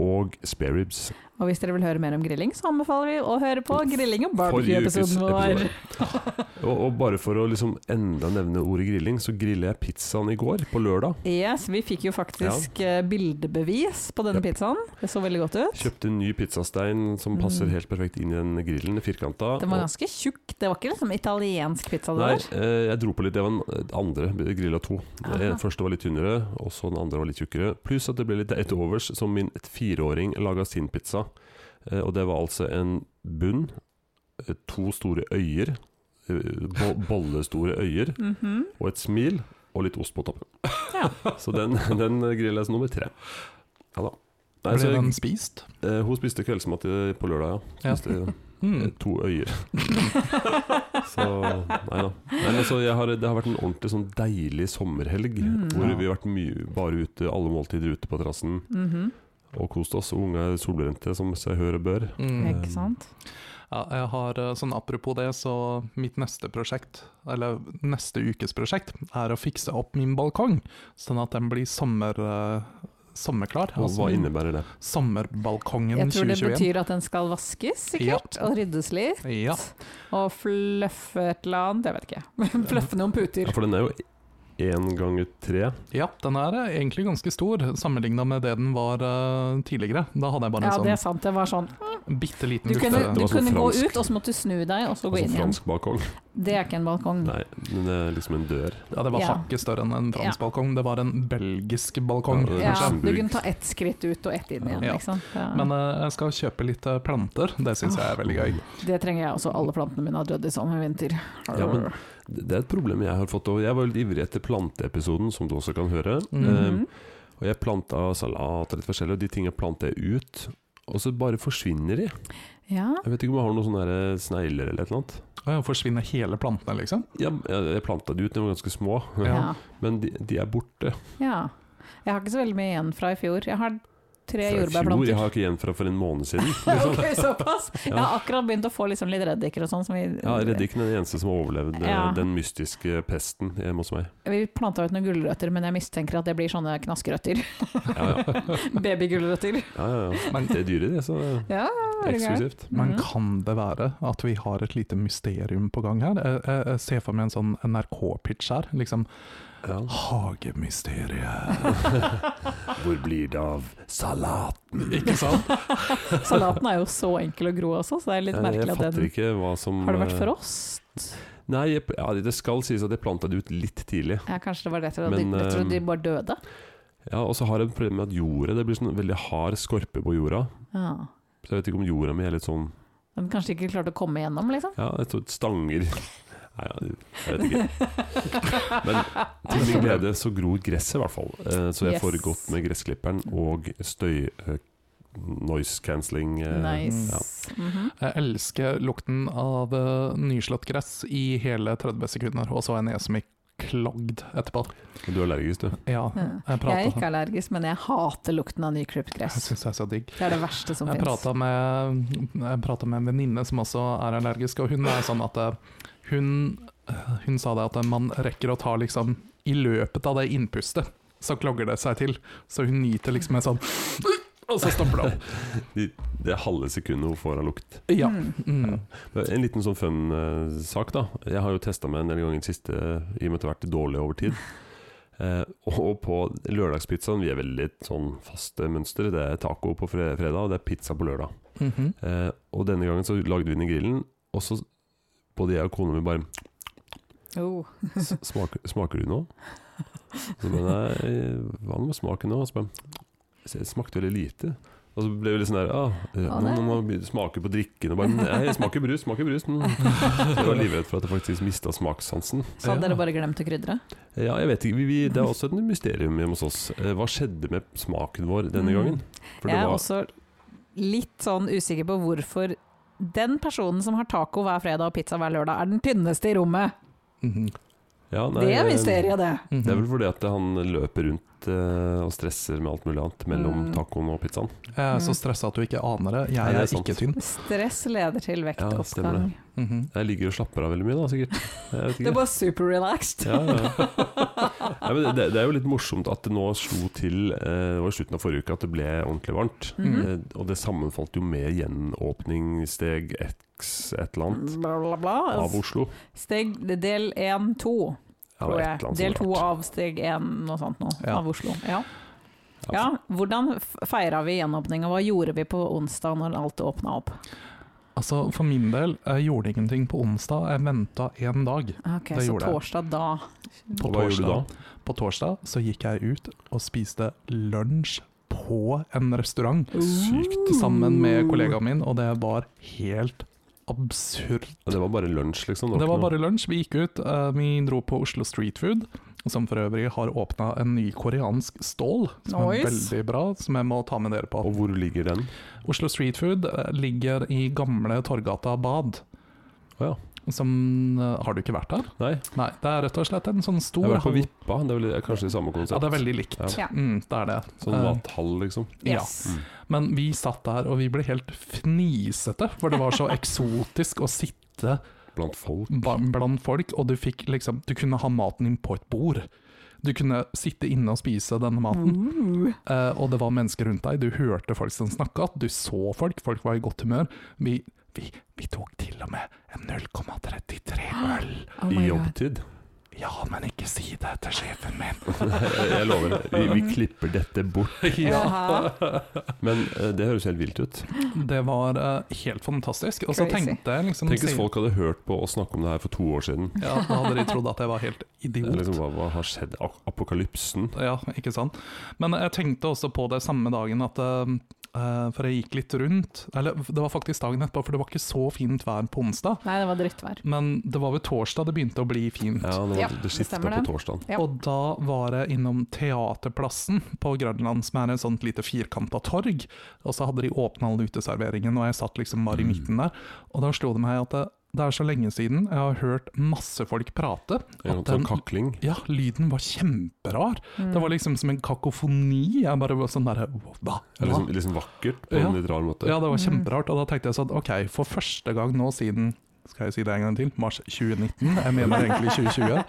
S1: og spareribs.
S2: Og hvis dere vil høre mer om grilling, så anbefaler vi å høre på grilling og
S1: Forrige ukes
S2: barbecue-episoden vår.
S1: episode. Og, og bare for å liksom enda nevne ordet grilling, så grilla jeg pizzaen i går, på lørdag.
S2: Yes, vi fikk jo faktisk eh, bildebevis på denne
S1: Japp.
S2: pizzaen. Det så veldig godt ut.
S1: Kjøpte en ny pizzastein som passer
S2: Mm.
S1: helt perfekt inn i den grillen, firkanta.
S2: Den var ganske tjukk. Det var ikke liksom italiensk pizza det
S1: Nei,
S2: der.
S1: eh, jeg dro på litt. Det var den andre. jeg Grilla to.
S2: Aha.
S1: Den første var litt tynnere, og så den andre var litt tjukkere. Pluss at det ble litt etter overs, som min et fireåring laga sin pizza. Eh, og det var altså en bunn, eh, to store øyer, eh, bo bollestore øyer,
S2: Mhm.
S1: og et smil, og litt ost på toppen.
S2: Ja.
S1: så den, den grilla jeg som nummer tre. Ja da. Nei,
S3: Ble
S1: så,
S3: den spist?
S1: eh, hun spiste kveldsmat i- på lørdag,
S3: Ja.
S1: ja. Spiste, Eh,
S3: Mm.
S1: To øyer. så nei da. Nei, men så jeg har, det har vært en ordentlig sånn deilig sommerhelg.
S2: Mm.
S1: hvor
S3: Ja.
S1: vi har vært mye bare ute, alle måltider ute på terrassen
S2: Mhm.
S1: og kost oss. Og unge er solbrente, som seg hør og bør.
S3: Mm.
S2: Ikke sant?
S3: Ja, jeg har, eh, sånn Apropos det, så mitt neste prosjekt, eller neste ukes prosjekt, er å fikse opp min balkong, sånn at den blir sommer, eh, sommerklar.
S1: Og hva
S2: sånn.
S3: Altså,
S1: innebærer det?
S3: Sommerbalkongen
S2: Jeg tror det
S3: 2021.
S2: betyr at den skal vaskes, sikkert. Og ryddes litt.
S3: Ja,
S2: Og fluffe et eller annet, jeg vet ikke. fluffe noen puter.
S1: Ja, for den er jo én ganger tre.
S3: ja, den er eh, egentlig ganske stor, sammenligna med det den var eh, tidligere. Da hadde jeg bare
S2: Ja,
S3: en
S2: det er sant. Det var sånn.
S3: sånn bitte liten
S2: Du kunne,
S1: Mm. Det
S2: du
S1: var sånn
S2: kunne gå
S1: fransk.
S2: ut, og så måtte du snu deg, og så gå
S1: Altså
S2: inn Mm. igjen.
S1: fransk balkong.
S2: Det er ikke en balkong.
S1: Nei, men det er liksom en dør.
S3: Ja, det var
S2: Ja.
S3: hakket større enn en fransk balkong. Det var en belgisk balkong.
S1: Ja, det er
S2: Ja,
S1: Luxemburg.
S2: du kunne ta ett skritt ut og ett inn igjen.
S3: Ja.
S2: Ikke sant? Ja.
S3: Men eh, jeg skal kjøpe litt eh, planter. Det
S2: Ah.
S3: syns jeg er veldig gøy.
S2: det trenger jeg også. Alle plantene mine har dødd i sommer og vinter.
S1: Ja, men det det er et problem jeg har fått. Og jeg var litt ivrig etter planteepisoden, som du også kan høre. Eh,
S2: Mhm.
S1: og jeg planta salat og litt forskjellig, og de tingene planter jeg ut. Og så bare forsvinner de.
S2: ja.
S1: Jeg vet ikke om jeg har noen sånne her eh, snegler eller et eller annet.
S3: Å ja, forsvinner hele plantene, liksom?
S1: Jeg, jeg, jeg planta de ut, de var ganske små.
S2: Ja.
S1: Men de, de er borte.
S2: ja. Jeg har ikke så veldig mye igjen fra i fjor. Jeg har tre
S1: Fra i fjor,
S2: jordbærplanter.
S1: Jeg har ikke igjen fra for en måned siden. Liksom.
S2: ok, såpass. Jeg har
S1: Ja.
S2: akkurat begynt å få liksom litt reddiker og sånn. som vi-
S1: Ja, Reddiken er den eneste som har overlevd eh,
S2: Ja.
S1: den mystiske pesten hjemme hos meg.
S2: Vi planta ut noen gulrøtter, men jeg mistenker at det blir sånne knaskerøtter.
S1: Ja, ja,
S2: Babygulrøtter.
S1: ja, ja, ja.
S3: Men-
S1: Det er dyre, det, så det
S2: Ja,
S1: er
S2: veldig gøy.
S1: eksklusivt.
S3: Men
S2: Mhm.
S3: kan det være at vi har et lite mysterium på gang her? Jeg, jeg, jeg ser for meg en sånn NRK-pitch her. Liksom
S1: Ja.
S3: Hagemysteriet.
S1: Hvor blir det av salat?
S3: Ikke sant?
S2: Salaten er jo så enkel og grå også, så det er litt
S1: Eh, Jeg, jeg
S2: merkelig at
S1: fatter
S2: den
S1: ikke hva som
S2: Har det vært
S1: eh,
S2: frost?
S1: Nei, jeg, ja, det skal sies at jeg planta det ut litt tidlig.
S2: Ja, kanskje det var det. Jeg tror,
S1: Men,
S2: de, jeg tror de
S1: ehm,
S2: bare døde.
S1: Ja, Og så har jeg et problem med at jordet Det blir sånn veldig hard skorpe på jorda.
S2: Ja.
S1: Så jeg vet ikke om jorda mi er litt sånn
S2: Men kanskje ikke klarte å komme gjennom, liksom.
S1: Ja, jeg tror stanger Nei, ja, jeg vet ikke. Men til min glede så gror gresset, i hvert fall. Eh, Så jeg får
S2: Yes.
S1: godt med gressklipperen og støy eh, Noise cancelling. eh, ja.
S2: Nice. Mhm.
S3: Jeg elsker lukten av eh, nyslått gress i hele 30 sekunder, og så en jeg som er klagd etterpå.
S1: Men Du er allergisk, du.
S3: Ja,
S2: Ja.
S3: jeg
S2: Jeg er ikke
S3: prata
S2: allergisk, men jeg hater lukten av nyklipt
S3: Jeg
S2: gress.
S3: syns det er så digg.
S2: Det er det verste som
S3: Jeg
S2: fins.
S3: prata med, jeg pratet med en venninne som også er allergisk, og hun er sånn at eh, hun, eh, hun sa det at man rekker å ta liksom I løpet av det innpustet, så klogger det seg til. Så hun nyter liksom en sånn Og så stopper det opp.
S1: De- Det er halve sekundet hun får av lukt.
S3: Ja.
S2: Mm.
S3: Mm.
S1: En liten sånn fun eh, sak, da. Jeg har jo testa meg en del ganger i det siste, i og med at jeg har vært dårlig over tid. Eh, og på lørdagspizzaen Vi er veldig sånn faste mønster. Det er taco på fre- fredag, og det er pizza på lørdag.
S3: Mhm.
S1: Eh, og denne gangen så lagde vi den i grillen, og så både jeg og kona mi bare
S2: Oh.
S1: "S- smaker, 'Smaker du noe?' Så bare, nei, hva nå med smaken nå? Og så bare, "S- det smakte veldig lite. Og så ble vi litt sånn der ah, eh,
S2: Ja,
S1: nå,
S2: det-
S1: nå må vi smake på drikken og bare Nei, jeg smaker brus, smaker brus. Mm. Så jeg var livredd for at jeg faktisk mista smakssansen.
S2: Så hadde dere bare glemt å krydre?
S1: Ja, jeg vet ikke, vi, vi, Det er også et mysterium hjemme hos oss. Eh, Hva skjedde med smaken vår denne
S2: Mm. altså,
S1: gangen? For det
S2: Jeg er
S1: var
S2: også litt sånn usikker på hvorfor den personen som har taco hver fredag og pizza hver lørdag, er den tynneste i rommet.
S3: Mhm.
S1: ja, nei,
S2: det er
S1: eh,
S2: mysteriet, det.
S3: Mhm.
S1: Det er vel fordi at han løper rundt eh, og stresser med alt mulig annet mellom
S2: Mm.
S1: tacoen og pizzaen.
S3: Jeg er så
S2: Mm.
S3: stressa at du ikke aner det.
S1: Nei,
S3: Jeg
S1: det er
S3: er
S1: sant.
S3: ikke tynn.
S2: Stress leder til
S1: Ja, stemmer
S2: vektoppgang.
S3: Mhm.
S1: Jeg ligger og slapper av veldig mye, da, sikkert. Jeg vet
S2: det
S1: ikke.
S2: var super relaxed.
S1: Ja, ja. Nei, men det, det er jo litt morsomt at det nå slo til eh, det var i slutten av forrige uke at det ble ordentlig varmt.
S2: Mhm.
S1: Eh, og det sammenfalt jo med gjenåpningssteg x et eller annet
S2: Bla, bla, bla.
S1: av Oslo.
S2: Steg del én, to,
S1: Ja,
S2: tror
S1: det var et eller
S2: jeg.
S1: annet
S2: Del
S1: sånt
S2: to
S1: rart.
S2: av steg én, noe sånt noe,
S3: Ja.
S2: av Oslo. Ja.
S1: Ja,
S2: ja, hvordan feira vi gjenåpninga? Hva gjorde vi på onsdag når alt åpna opp?
S3: Altså, For min del, jeg gjorde ingenting på onsdag. Jeg venta én dag.
S2: Ok,
S3: Det
S2: Så
S3: gjorde jeg.
S2: torsdag da.
S3: På
S1: Og hva gjorde du da?
S3: På torsdag så gikk jeg ut og spiste lunsj på en restaurant
S1: Sykt.
S3: sammen med kollegaen min, og det var helt absurd.
S1: Ja, det var bare lunsj, liksom.
S3: Det
S1: ikke
S3: var
S1: noe-
S3: bare lunsj. Vi gikk ut. eh, Vi dro på Oslo Street Food, som for øvrig har åpna en ny koreansk stål, som
S2: Nice.
S3: er veldig bra, som jeg må ta med dere på.
S1: Og hvor ligger den?
S3: Oslo Street Food eh, ligger i gamle Torgata Bad.
S1: Å ja.
S3: Som eh, Har du ikke vært der?
S1: Nei,
S3: Nei, det er rett og slett en sånn stor
S1: jeg var på
S3: hall.
S1: Vippa. Det er vel, det er kanskje det samme konsept.
S3: Ja, det er veldig likt.
S2: Ja.
S3: Mm, det er det.
S1: Sånn
S3: Eh,
S1: mathall, liksom.
S2: Yes.
S1: Mm.
S3: Men vi satt der, og vi ble helt fnisete, for det var så eksotisk å sitte
S1: Blant folk.
S3: ba- blant folk, og du fikk liksom Du kunne ha maten din på et bord. Du kunne sitte inne og spise denne maten,
S2: Uh,
S3: eh, og det var mennesker rundt deg. Du hørte folk som snakka, du så folk, folk var i godt humør. Vi, vi, vi tok til og med en 0,33 øl.
S2: oh
S1: I
S2: my god.
S1: jobbtid.
S3: Ja, men ikke si det til sjefen min.
S1: Jeg lover. Vi, vi klipper dette bort.
S2: Jaha.
S1: Men eh, det høres helt vilt ut.
S3: Det var eh, helt fantastisk. Og så
S2: Crazy.
S3: tenkte jeg liksom
S1: Tenk hvis
S3: si-
S1: folk hadde hørt på oss snakke om det her for to år siden.
S3: Ja, Da hadde de trodd at jeg var helt
S1: Det
S3: idiot.
S1: er Liksom, hva, hva har skjedd? A- Apokalypsen?
S3: Ja, ikke sant. Men jeg tenkte også på det samme dagen at eh, eh, For jeg gikk litt rundt. Eller det var faktisk dagen etterpå, for det var ikke så fint vær på onsdag.
S2: Nei, det var drittvær.
S3: Men det var ved torsdag det begynte å bli fint.
S1: Ja, det, var,
S2: Ja,
S1: det
S2: det
S1: skifta
S2: stemmer
S1: på
S2: det.
S1: torsdagen.
S2: Ja.
S3: Og da var jeg innom Teaterplassen på Grønland, som er en sånt lite firkanta torg. Og så hadde de åpna all uteserveringen, og jeg satt liksom bare i
S1: Mm.
S3: midten der. Og da slo det meg at det, det er så lenge siden jeg har hørt masse folk prate.
S1: Ja,
S3: At
S1: sånn
S3: den,
S1: kakling.
S3: ja, lyden var kjemperar.
S2: Mm.
S3: Det var liksom som en kakofoni. Jeg bare var sånn derre hva?
S1: Det er
S3: hva?
S1: Liksom, liksom vakkert på
S3: Ja.
S1: en litt rar måte.
S3: Ja, det var
S2: Mm.
S3: kjemperart. Og da tenkte jeg sånn, ok, for første gang nå siden skal jeg si det en gang til, mars 2019, jeg mener egentlig 2020,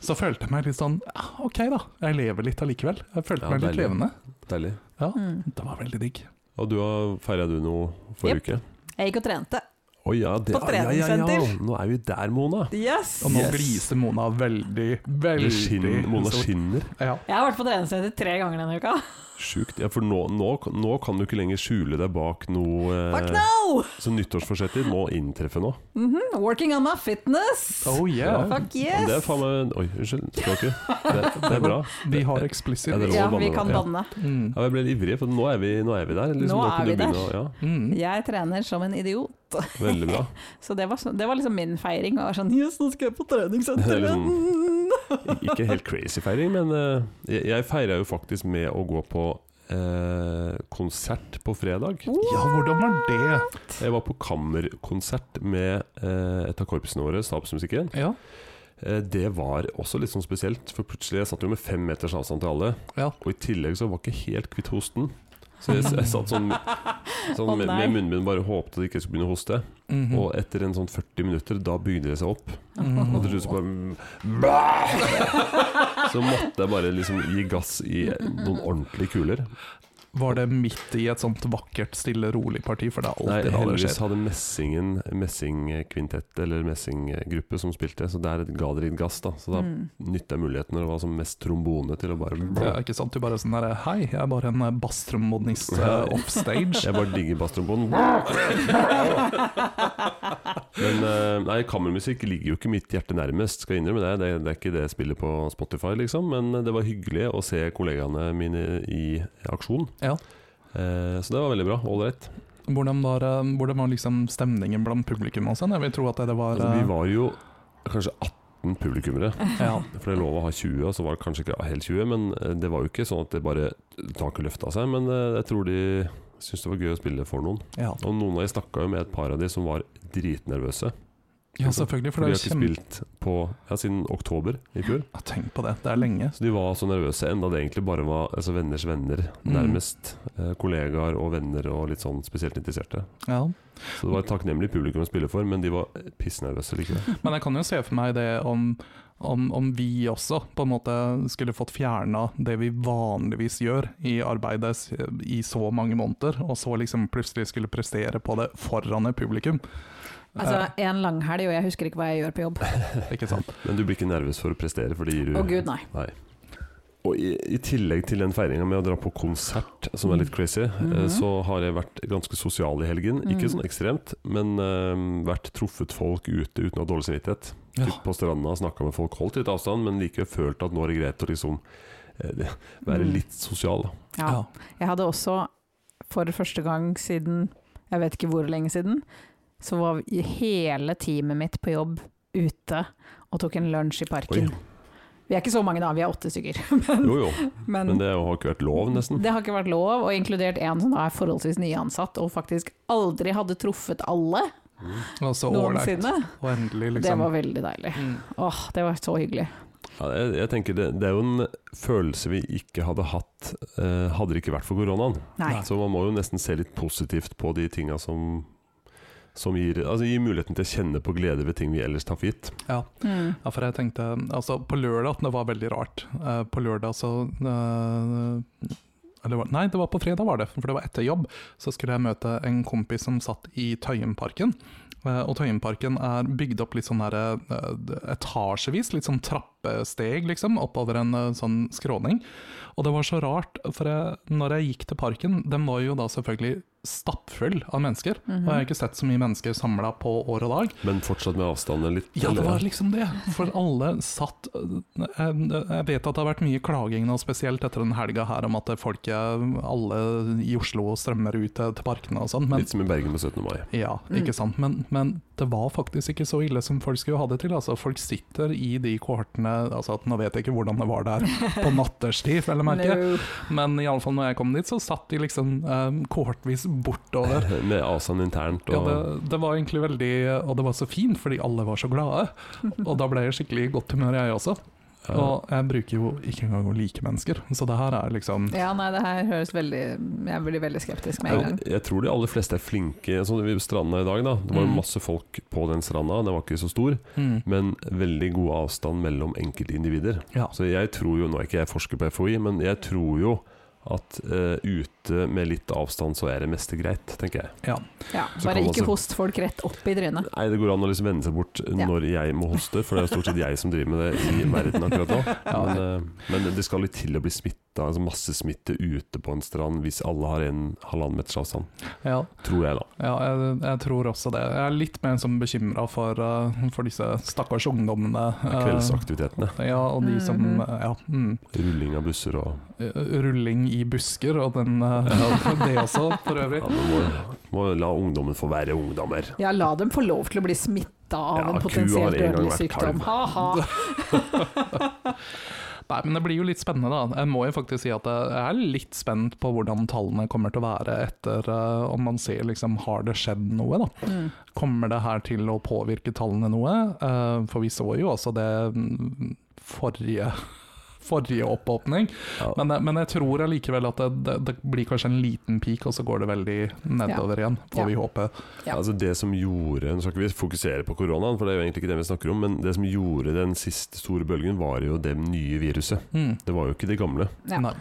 S3: så følte jeg meg litt sånn ja, ok da, jeg lever litt allikevel. Jeg følte
S1: Ja,
S3: meg litt
S1: deilig.
S3: levende.
S1: Deilig.
S2: Mm.
S3: Det var veldig digg.
S1: Og du feira du noe forrige uke?
S2: Jeg gikk og trente.
S1: Å ja, det,
S2: På
S1: ja, ja, ja,
S2: treningssenter.
S1: nå er vi der, Mona.
S2: Yes!
S3: Og nå
S1: Yes.
S3: gliser Mona veldig,
S1: Eller
S3: veldig
S1: skinn- Mona
S3: stort.
S1: skinner.
S3: Ja.
S2: Jeg har vært på treningssenter tre ganger denne uka.
S1: Sjukt. Ja, for nå, nå, nå kan du ikke lenger skjule deg bak noe
S2: Fuck
S1: eh,
S2: no!
S1: som nyttårsforsetter må inntreffe nå.
S2: Mhm, Working on my fitness!
S3: Oh yeah.
S1: Ja.
S2: Fuck
S1: Men
S2: yes!
S1: Det er faen meg Oi, unnskyld. Språket. Det, det er bra.
S3: Vi har
S1: Ja,
S3: eksplisitt.
S1: det er lov å
S2: Ja,
S1: banne
S2: vi
S1: nå.
S2: kan
S1: oh, Ja.
S2: banne.
S3: Mm.
S1: Ja, jeg ble litt ivrig, for nå er vi, nå er vi der. Liksom,
S2: Nå
S1: kan
S2: er
S1: du
S2: vi
S1: begynne
S2: der.
S1: å-
S3: Mm.
S2: Jeg trener som en idiot.
S1: ja, veldig bra.
S2: Så det var, så- det var liksom min feiring. Jeg var sånn Yes, nå skal jeg på Mm.
S1: Det er
S2: treningssenter!
S1: liksom- Ikke helt crazy feiring, men eh, jeg, jeg feira jo faktisk med å gå på eh, konsert på fredag.
S3: Ja, hvordan var det?
S1: Jeg var på kammerkonsert med eh, et av korpsene våre, Stabsmusikken.
S3: Ja,
S1: Eh, det var også litt sånn spesielt, for plutselig jeg satt jo med fem meters avstand til alle.
S3: Ja.
S1: Og i tillegg så var jeg ikke helt kvitt hosten. Så jeg, jeg satt sånn, sånn
S2: Å,
S1: med,
S2: nei. Mm.
S1: med munnbind bare håpet at jeg ikke skulle begynne å hoste.
S3: Mhm.
S1: Og etter en sånn 40 minutter, da bygde det seg opp.
S3: Mhm.
S1: Og til slutt så bare Så måtte jeg bare liksom gi gass i noen ordentlige kuler.
S3: Var det midt i et sånt vakkert, stille, rolig parti? For det er
S1: Nei,
S3: alltid da det
S1: heldigvis
S3: skjer.
S1: hadde Messingen messingkvintett eller messinggruppe som spilte, så der ga det litt gass, da. Så da
S2: Mm.
S1: nytta jeg muligheten når det var som mest trombone til å
S3: Det
S1: bare
S3: er ikke sant, du bare sånn der Hei, jeg er bare en eh, basstromodnist eh, offstage.
S1: Jeg bare digger basstrombonen. Men eh, nei, kammermusikk ligger jo ikke mitt hjerte nærmest, skal jeg innrømme det. Det, det er ikke det jeg spiller på Spotify, liksom. Men det var hyggelig å se kollegaene mine i aksjon.
S3: Ja.
S1: Eh, Eh, så det var veldig bra. Ålreit.
S3: Hvordan var, eh, hvordan var liksom stemningen blant publikum? og sånn? Jeg vil tro at det var
S1: Altså,
S3: eh,
S1: vi var jo kanskje 18 publikummere.
S3: ja,
S1: For det er lov å ha 20, og så var det kanskje ikke helt 20, men eh, det var jo ikke sånn at det bare taket løfta seg. Men eh, jeg tror de syntes det var gøy å spille for noen.
S3: ja.
S1: Og noen av de snakka jo med et par av de som var dritnervøse.
S3: ja, selvfølgelig.
S1: For
S3: For
S1: de har
S3: det er
S1: ikke
S3: kjempe...
S1: spilt på ja, siden oktober i fjor.
S3: Ja, Tenk på det, det er lenge.
S1: Så de var så nervøse, enda det egentlig bare var altså, venners venner,
S3: Mm.
S1: nærmest. Eh, kollegaer og venner og litt sånn spesielt interesserte.
S3: Ja.
S1: Så det var et takknemlig publikum å spille for, men de var pissnervøse likevel.
S3: Men jeg kan jo se for meg det om, om, om vi også på en måte skulle fått fjerna det vi vanligvis gjør i arbeidet s- i så mange måneder, og så liksom plutselig skulle prestere på det foran et publikum.
S2: Altså, en langhelg, og jeg husker ikke hva jeg gjør på jobb.
S3: Eh, ikke sant?
S1: Men du blir ikke nervøs for å prestere, for det gir du
S2: Å gud, nei.
S1: Og i, i tillegg til den feiringa med å dra på konsert, som er litt crazy, eh,
S2: Mhm.
S1: så har jeg vært ganske sosial i helgen. Ikke
S2: Mhm.
S1: sånn ekstremt, men eh, vært truffet folk ute uten å ha dårlig samvittighet.
S3: Ja.
S1: Typ på stranda, snakka med folk, holdt litt avstand, men likevel følt at nå er det greit å liksom eh, være
S2: Mhm.
S1: litt sosial. da.
S2: Ja.
S3: Ja.
S2: Jeg hadde også, for første gang siden jeg vet ikke hvor lenge siden, så var vi- hele teamet mitt på jobb ute og tok en lunsj i parken. Vi er ikke så mange da, vi er åtte stykker. Men,
S1: Jo jo,
S2: men,
S1: men det har ikke vært lov, nesten.
S2: det har ikke vært lov, og inkludert en som da er forholdsvis nyansatt og faktisk aldri hadde truffet alle
S1: Mm.
S3: Og så ålreit.
S2: noensinne.
S3: Og endelig,
S2: Det
S3: liksom.
S2: var veldig deilig.
S3: Mm.
S2: Åh, det var så hyggelig.
S1: Ja, jeg, jeg tenker det, det er jo en følelse vi ikke hadde hatt eh, hadde det ikke vært for koronaen.
S2: Nei.
S1: Så man må jo nesten se litt positivt på de tinga som, som gir, altså gir muligheten til å kjenne på glede ved ting vi ellers tar for gitt.
S2: Mm.
S3: Ja, for jeg tenkte Altså, på lørdag Det var veldig rart. Eh, på lørdag så eh, eller, var- Nei, det var på fredag, var det. For det var etter jobb. Så skulle jeg møte en kompis som satt i Tøyenparken. Eh, og Tøyenparken er bygd opp litt sånn her eh, etasjevis, litt sånn trappesteg, liksom, oppover en eh, sånn skråning. Og det var så rart, for jeg, når jeg gikk til parken, den var jo da selvfølgelig stappfull av mennesker.
S2: mm-hmm.
S3: Og jeg har ikke sett så mye mennesker samla på år og dag.
S1: Men fortsatt med avstanden litt.
S3: Ja, det
S1: eller?
S3: var liksom det. For alle satt Jeg, jeg vet at det har vært mye klaging nå, spesielt etter den helga her, om at folk, alle i Oslo strømmer ut til til parkene og sånn. Men,
S1: Litt som i Bergen på 17. mai.
S3: ja,
S2: Mm.
S3: ikke sant. Men, men det var faktisk ikke så ille som folk skulle ha det til. Altså, folk sitter i de kohortene altså, Nå vet jeg ikke hvordan det var der på natterstid, vel å merke,
S2: No.
S3: men iallfall når jeg kom dit, så satt de liksom eh, kohortvis bortover.
S1: Med avstand internt.
S3: Ja,
S1: Og,
S3: det, det var egentlig veldig Og det var så fint, fordi alle var så glade. Og da ble jeg skikkelig i godt humør, jeg også.
S1: Ja.
S3: Og jeg bruker jo ikke engang å like mennesker, så det her er liksom
S2: Ja, nei, det her høres veldig Jeg blir veldig skeptisk med en gang.
S1: jeg, jeg tror de aller fleste er flinke. Sånn ved stranda i dag, da. Det var jo
S3: Mm.
S1: masse folk på den stranda, den var ikke så stor.
S3: mm,
S1: Men veldig god avstand mellom enkeltindivider.
S3: Ja.
S1: Så jeg tror jo, nå er ikke jeg forsker på FHI, men jeg tror jo at eh, ute med litt avstand så er det meste greit, tenker jeg.
S3: ja.
S2: Ja,
S1: Så
S2: bare
S1: kan man
S2: ikke
S1: så-
S2: host folk rett opp i trynet.
S1: Nei, det går an å liksom vende seg bort
S2: Ja.
S1: når jeg må hoste, for det er jo stort sett jeg som driver med det i verden akkurat nå. Men, eh, men det skal litt til å bli smitta, altså massesmitte ute på en strand hvis alle har en halvannen meters avstand.
S3: ja,
S1: Tror jeg, da.
S3: ja jeg, jeg tror også det. Jeg er litt mer sånn bekymra for, eh, for disse stakkars ungdommene. eh,
S1: Kveldsaktivitetene.
S3: Ja, og de som
S2: Mhm.
S3: eh, Ja. Mm, eh,
S1: Rulling av busser og
S3: rulling i busker og den eh, Det også, for øvrig.
S1: ja, man må, må la ungdommen få være ungdommer.
S2: Ja, la dem få lov til å bli smitta av
S1: Ja,
S2: en
S1: ku har
S2: potensielt
S1: en gang
S2: dødelig
S1: vært kalv.
S2: sykdom. Ha-ha.
S3: Nei, men det blir jo litt spennende, da. Jeg må jo faktisk si at jeg er litt spent på hvordan tallene kommer til å være etter eh, om man ser liksom har det skjedd noe, da.
S2: Mm.
S3: Kommer det her til å påvirke tallene noe? Eh, for vi så jo også det mm, forrige forrige oppåpning,
S1: Ja.
S3: men, jeg- men jeg tror allikevel at det, det, det blir kanskje en liten peak, og så går det veldig nedover igjen, får
S2: Ja.
S3: vi håpe.
S2: Ja.
S1: Altså det som gjorde Nå skal ikke vi fokusere på koronaen, for det er jo egentlig ikke det vi snakker om, men det som gjorde den siste store bølgen, var jo det nye viruset.
S3: Mm.
S1: Det var jo ikke det gamle.
S2: Ja.
S3: Nei.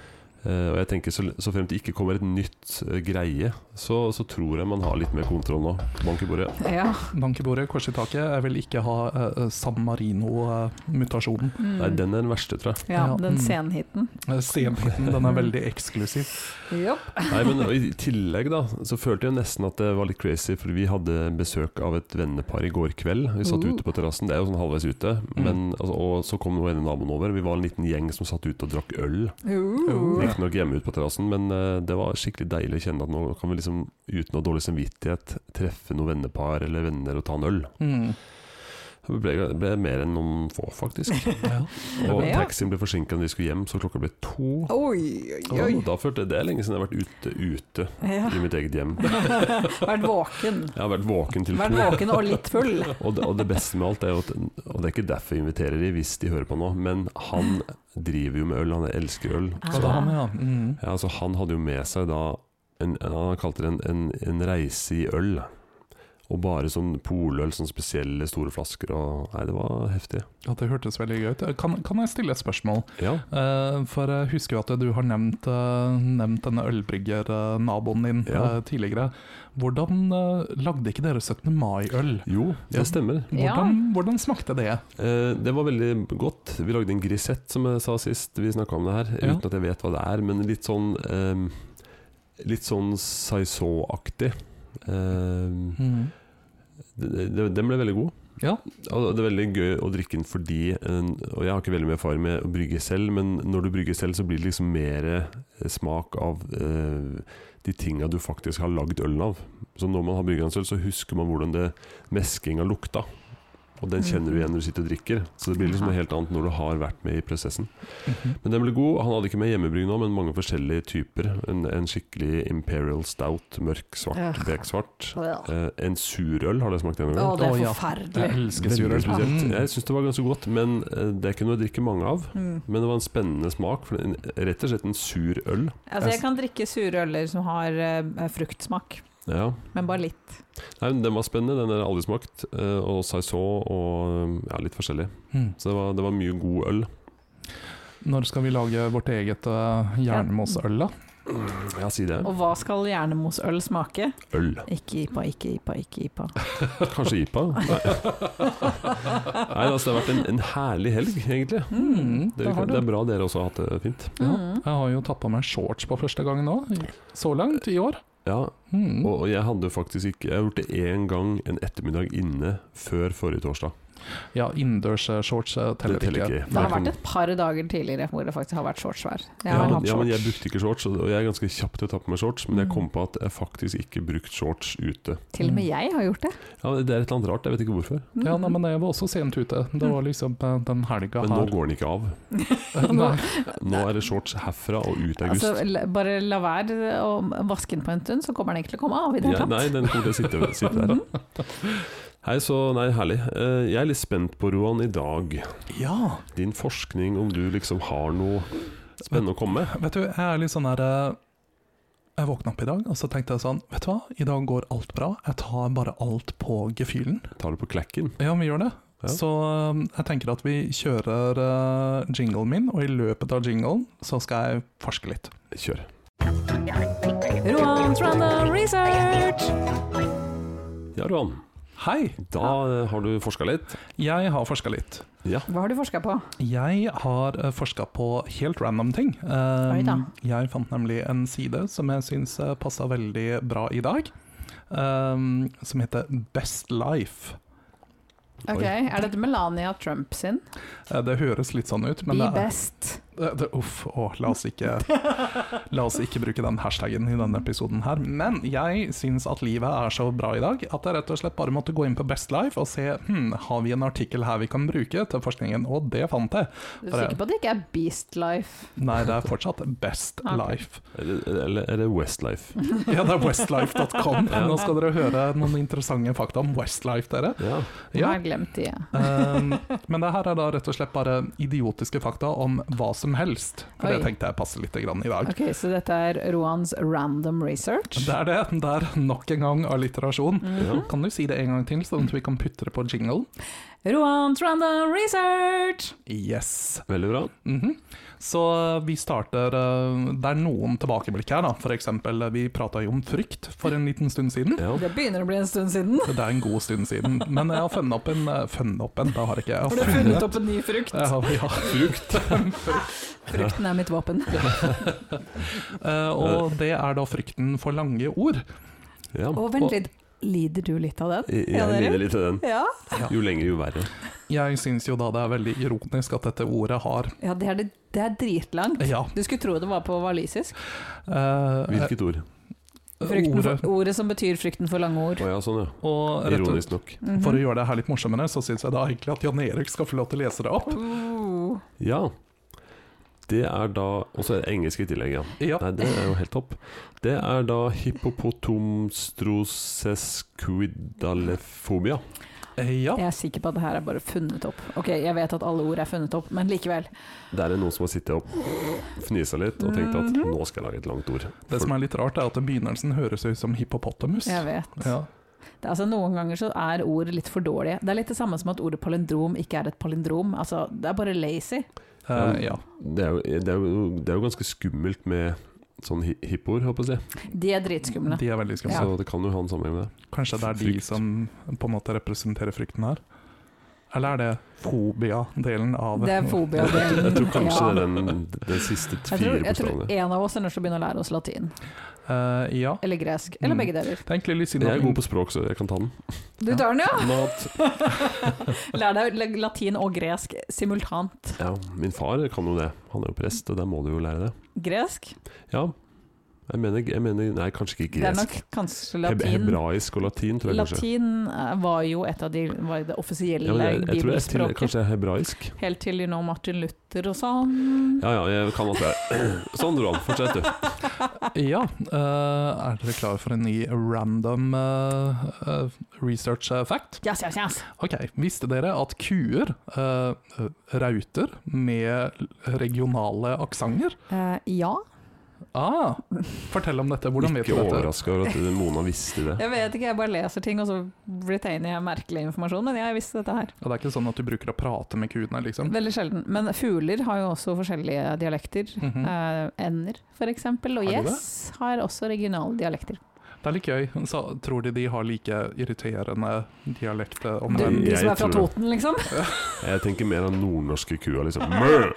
S1: Eh, og jeg tenker Så, så fremt det ikke kommer et nytt eh, greie, så, så tror jeg man har litt mer kontroll nå. Bank i bordet.
S2: Ja.
S3: Bank i bordet, kors i taket. Jeg vil ikke ha eh, San eh, Marino-mutasjonen.
S2: Mm.
S1: Nei, den er den verste, tror jeg.
S2: ja,
S3: Ja,
S2: den
S3: mm.
S2: senhiten.
S3: Senheten, den er veldig eksklusiv.
S2: Jopp.
S1: Nei, men I tillegg da så følte jeg nesten at det var litt crazy, for vi hadde besøk av et vennepar i går kveld. Vi satt
S2: Uh.
S1: ute på terrassen, det er jo sånn halvveis ute, men, altså, og så kom den ene naboen over. Vi var en liten gjeng som satt ute og drakk øl.
S2: Uh.
S1: Litt riktignok hjemme ute på terrassen, men eh, det var skikkelig deilig å kjenne at nå kan vi liksom uten noe dårlig samvittighet treffe noen vennepar eller venner og ta en øl.
S3: Mm.
S1: Det ble, det ble mer enn noen få, faktisk.
S3: Ja.
S1: Og
S2: Ja.
S1: taxien ble forsinka når vi skulle hjem, så klokka ble to.
S2: Oi, oi,
S1: Og
S2: oi.
S1: da følte jeg det er lenge siden jeg har vært ute ute
S2: Ja.
S1: i mitt eget hjem.
S2: Vært våken.
S1: Jeg har vært våken til
S2: Vært
S1: to.
S2: våken og litt full.
S1: Og det, og det beste med alt er jo at Og det er ikke derfor jeg inviterer de, hvis de hører på nå, men han driver jo med øl, han elsker øl.
S2: Ah.
S3: Så da, har vi, ja. Mm.
S1: Ja, altså Han hadde jo med seg da en, en, Han kalte det en, en, en reise i øl. Og bare sånn poløl, sånn spesielle store flasker og Nei, det var heftig.
S3: Ja, det hørtes veldig gøy ut. Eh, Kan, kan jeg stille et spørsmål?
S1: Ja.
S3: Eh, for jeg husker jo at du har nevnt, eh, nevnt denne ølbrygger-naboen din
S1: Ja.
S3: eh, tidligere. Hvordan eh, lagde ikke dere 17. mai-øl?
S1: Jo,
S3: Ja.
S1: det stemmer.
S2: Ja.
S3: Hvordan, hvordan smakte det?
S1: Eh, det var veldig godt. Vi lagde en grisett, som jeg sa sist vi snakka om det her.
S3: Ja.
S1: Uten at jeg vet hva det er, men litt sånn eh, Litt sånn saison-aktig. Eh,
S3: Mm.
S1: det- det- den ble veldig god.
S3: Ja.
S1: Og det er veldig gøy å drikke den fordi eh, Og jeg har ikke veldig mye erfaring med å brygge selv, men når du brygger selv, så blir det liksom mer eh, smak av eh, de tinga du faktisk har lagd ølen av. Så når man har bryggerensøl, så husker man hvordan det meskinga lukta. Og den kjenner du igjen når du sitter og drikker. Så det blir liksom noe helt annet når du har vært med i prosessen.
S3: Mhm.
S1: Men den ble god. Han hadde ikke med hjemmebrygg nå, men mange forskjellige typer. En, en skikkelig imperial stout, mørk,
S2: Ja.
S1: svart, beksvart.
S2: Å,
S1: Eh, en surøl, har dere smakt det noen gang?
S2: det
S3: Å,
S2: er
S3: ja. Jeg
S2: forferdelig.
S3: elsker
S1: Veldig
S3: surøl.
S1: spesielt.
S3: Mm.
S1: Jeg syns det var ganske godt, men eh, det er ikke noe jeg drikker mange av.
S2: Mm.
S1: Men det var en spennende smak. For det er en- rett og slett en sur øl.
S2: Altså, jeg kan drikke sure øler som har eh, fruktsmak,
S1: Ja.
S2: men bare litt.
S1: Nei, men den var spennende, den har jeg aldri smakt. eh, Og saison og ja, litt forskjellig.
S3: Mm.
S1: Så det var, det var mye god øl.
S3: Når skal vi lage vårt eget uh, jernmosøl, da?
S1: Ja, si det.
S2: Og hva skal hjernemosøl smake?
S1: Øl.
S2: Ikke IPA, ikke IPA, ikke IPA.
S1: Kanskje IPA? Nei, Nei altså, det har vært en, en herlig helg, egentlig.
S3: Mm,
S1: Det,
S3: det har
S1: det
S3: du.
S1: er bra dere også har hatt det fint.
S3: Ja,
S2: Mm.
S3: jeg har jo tatt på meg shorts på første gang nå, i- så langt i år.
S1: Ja,
S3: Mm.
S1: og, og jeg hadde faktisk ikke Jeg har gjort det én gang en ettermiddag inne før forrige torsdag.
S3: Ja, innendørsshorts eh,
S1: Det
S3: teller,
S1: teller
S3: ikke.
S1: ikke.
S2: Det har vært et par dager tidligere hvor det faktisk har vært shortsvær. Jeg
S1: Ja,
S2: har
S1: men,
S2: hatt
S1: ja, men jeg
S2: shorts. Mm.
S1: brukte ikke shorts, og og jeg er ganske kjapp til å ta på meg shorts, men jeg kom på at jeg faktisk ikke brukt shorts ute.
S2: Til og med jeg har gjort det.
S1: Ja, Det er et eller annet rart, jeg vet ikke hvorfor.
S2: Mm.
S3: Ja, nei, men jeg var også sent ute. Det var liksom eh, den helga
S1: Men nå
S3: her.
S1: går den ikke av.
S3: Nei.
S1: Nå er det shorts herfra og ut i august.
S2: altså, la- bare la være å vaske den på en stund, så kommer den ikke til å komme av i det
S1: Ja,
S2: hele tatt. Mhm.
S1: nei, den kommer til å sitte, sitte der. Hei, så nei, herlig. Eh, Jeg er litt spent på Roan i dag.
S3: Ja,
S1: Din forskning, om du liksom har noe spennende å komme med?
S3: vet du, jeg er litt sånn der eh, Jeg våkna opp i dag, og så tenkte jeg sånn Vet du hva, i dag går alt bra. Jeg tar bare alt på gefühlen.
S1: Tar du på klekken?
S3: Ja, vi gjør det.
S1: Ja.
S3: Så eh, jeg tenker at vi kjører eh, jinglen min, og i løpet av jinglen så skal jeg forske litt.
S1: Kjør.
S2: Roans random research!
S1: Ja, Roan.
S3: Hei!
S1: Da eh, har du forska litt.
S3: Jeg har forska litt.
S1: Ja.
S2: Hva har du forska på?
S3: Jeg har uh, forska på helt random ting. Eh,
S2: Oi da.
S3: jeg fant nemlig en side som jeg syns uh, passa veldig bra i dag, eh, som heter Best Life.
S2: Ok, Er dette Melania Trump sin?
S3: Eh, det høres litt sånn ut, men
S2: Be
S3: det er,
S2: best.
S3: det, det, uff, å, la, oss ikke, la oss ikke bruke den hashtagen i denne episoden her. Men jeg syns at livet er så bra i dag at jeg rett og slett bare måtte gå inn på Best Life og se hm, har vi en artikkel her vi kan bruke til forskningen, og det fant jeg.
S2: Du er sikker på at det ikke er Beast Life?
S3: Nei, det er fortsatt Best
S2: Ok.
S3: Life.
S1: Eller, eller er det Westlife?
S3: Ja, det er westlife.com. Nå skal dere høre noen interessante fakta om Westlife, dere.
S1: Ja.
S2: Du
S3: Ja.
S2: har glemt de, ja.
S3: Um, men det her er da rett og slett bare idiotiske fakta om hva som helst. For det
S2: Oi.
S3: tenkte jeg passer litt grann i dag.
S2: Ok, Så dette er Roans random research? Mm.
S3: Det er det. Det er nok en gang alliterasjon.
S1: ja.
S2: Mhm.
S3: Kan du si det en gang til, sånn at vi kan putte det på jingle?
S2: Roans random research!
S3: Yes.
S1: Veldig bra.
S3: Mhm. Så vi starter uh, Det er noen tilbakeblikk her, da. F.eks. vi prata jo om frykt for en liten stund siden.
S1: Ja.
S2: Det begynner å bli en stund siden.
S3: Det er en god stund siden. Men jeg har funnet opp en eh, Funnet opp en, det har jeg ikke. Jeg
S2: Har du
S3: har
S2: funnet opp en ny frukt?
S3: Ja, ja.
S1: Frukt.
S2: Frukten er mitt våpen.
S3: Eh, og det er da frykten for lange ord.
S1: Ja.
S2: Og vent litt, Lider du litt av den?
S1: Jeg,
S2: Ja,
S1: jeg
S2: dere?
S1: lider litt av den.
S2: Ja.
S1: Jo lenger, jo verre.
S3: Jeg syns jo da det er veldig ironisk at dette ordet har
S2: ja det, er, det, det er dritlangt.
S3: Ja.
S2: Du skulle tro det var på walisisk.
S3: eh,
S1: Hvilket ord?
S2: Frykten
S3: ordet,
S2: for, ordet som betyr 'frykten for lange ord'.
S1: Å ja, sånn ja.
S3: og rett og
S1: Ironisk nok.
S2: Mhm.
S3: For å gjøre det her litt morsommere, så syns jeg da egentlig at Jan Erik skal få lov til å lese det opp.
S2: Oh.
S1: Ja. Det er da Og så er det engelsk i tillegg, ja.
S3: Ja.
S1: Nei, det er jo helt topp. Det er da hippopotomstrosesquidalefobia.
S3: eh, ja.
S2: Jeg er sikker på at det her er bare funnet opp. Ok, jeg vet at alle ord er funnet opp, men likevel.
S1: Der er det noen som har sittet og fnisa litt og tenkt at
S2: Mhm.
S1: nå skal jeg lage et langt ord.
S3: Det som er litt rart, er at begynnelsen høres ut som hippopotamus.
S2: Jeg vet.
S3: Ja.
S2: Det er, altså, noen ganger så er ord litt for dårlige. Det er litt det samme som at ordet palindrom ikke er et palindrom. Altså, det er bare lazy.
S3: Eh, ja.
S1: Det er, jo, det, er jo, det er jo ganske skummelt med sånn hi- hippoer, håper jeg å si.
S2: De er dritskumle.
S3: De er veldig skumle.
S1: Så det kan jo ha en sammenheng med det.
S3: Kanskje det er de
S1: Frykt.
S3: som på en måte representerer frykten her? Eller er det fobia-delen av
S2: Det er fobia.
S1: Jeg tror kanskje det er den, den siste
S2: Jeg tror,
S1: fire
S2: jeg tror
S1: bokstavene.
S2: en av oss er nødt til å begynne å lære oss latin.
S3: Eh, ja.
S2: Eller gresk. Eller
S3: Mm.
S2: begge deler.
S3: Det er egentlig litt synd
S1: Jeg
S3: at
S1: er god på språk, så jeg kan ta den.
S2: Du tar den, ja!
S1: Mat.
S2: Lær deg la- latin og gresk simultant.
S1: Ja, min far kan jo det. Han er jo prest, og der må du jo lære det.
S2: Gresk?
S1: Ja. Jeg mener, jeg mener Nei, kanskje ikke
S2: Det er
S1: gresk.
S2: nok kanskje
S1: Heb-
S2: latin.
S1: Hebraisk og latin, tror jeg kanskje.
S2: Latin eh, var jo et av de, var det offisielle
S1: Ja, men jeg, jeg tror jeg til,
S2: bibelspråket.
S1: kanskje det er hebraisk.
S2: Helt til you know, Martin Luther og sånn.
S1: Ja ja, jeg kan at det er Sånn dro han. Fortsett, du.
S3: Ja. eh, er dere klare for en ny random eh, eh, research eh, fact?
S2: Yes, yes, yes.
S3: Ok, Visste dere at kuer eh, rauter med regionale aksenter?
S2: Eh, ja.
S3: Ah, fortell om dette. Hvordan vet
S1: Ikke
S3: du dette?
S1: overraska over at Mona visste det.
S2: Jeg vet ikke, jeg bare leser ting, og så retegner jeg merkelig informasjon. Men jeg visste dette her.
S3: Ja, det er ikke sånn at du bruker å prate med kuene, liksom?
S2: Veldig sjelden. Men fugler har jo også forskjellige dialekter.
S3: Mhm.
S2: Eh, ender, f.eks. Og
S3: Har de det?
S2: gjess har også regionale dialekter.
S3: Det er litt gøy. Så tror de de har like irriterende dialekt eh, om
S2: Du,
S1: men
S3: den?
S2: de
S1: jeg
S2: som er fra
S1: tror-
S2: Toten, liksom.
S1: Jeg tenker mer av nordnorske kua, liksom. Mø!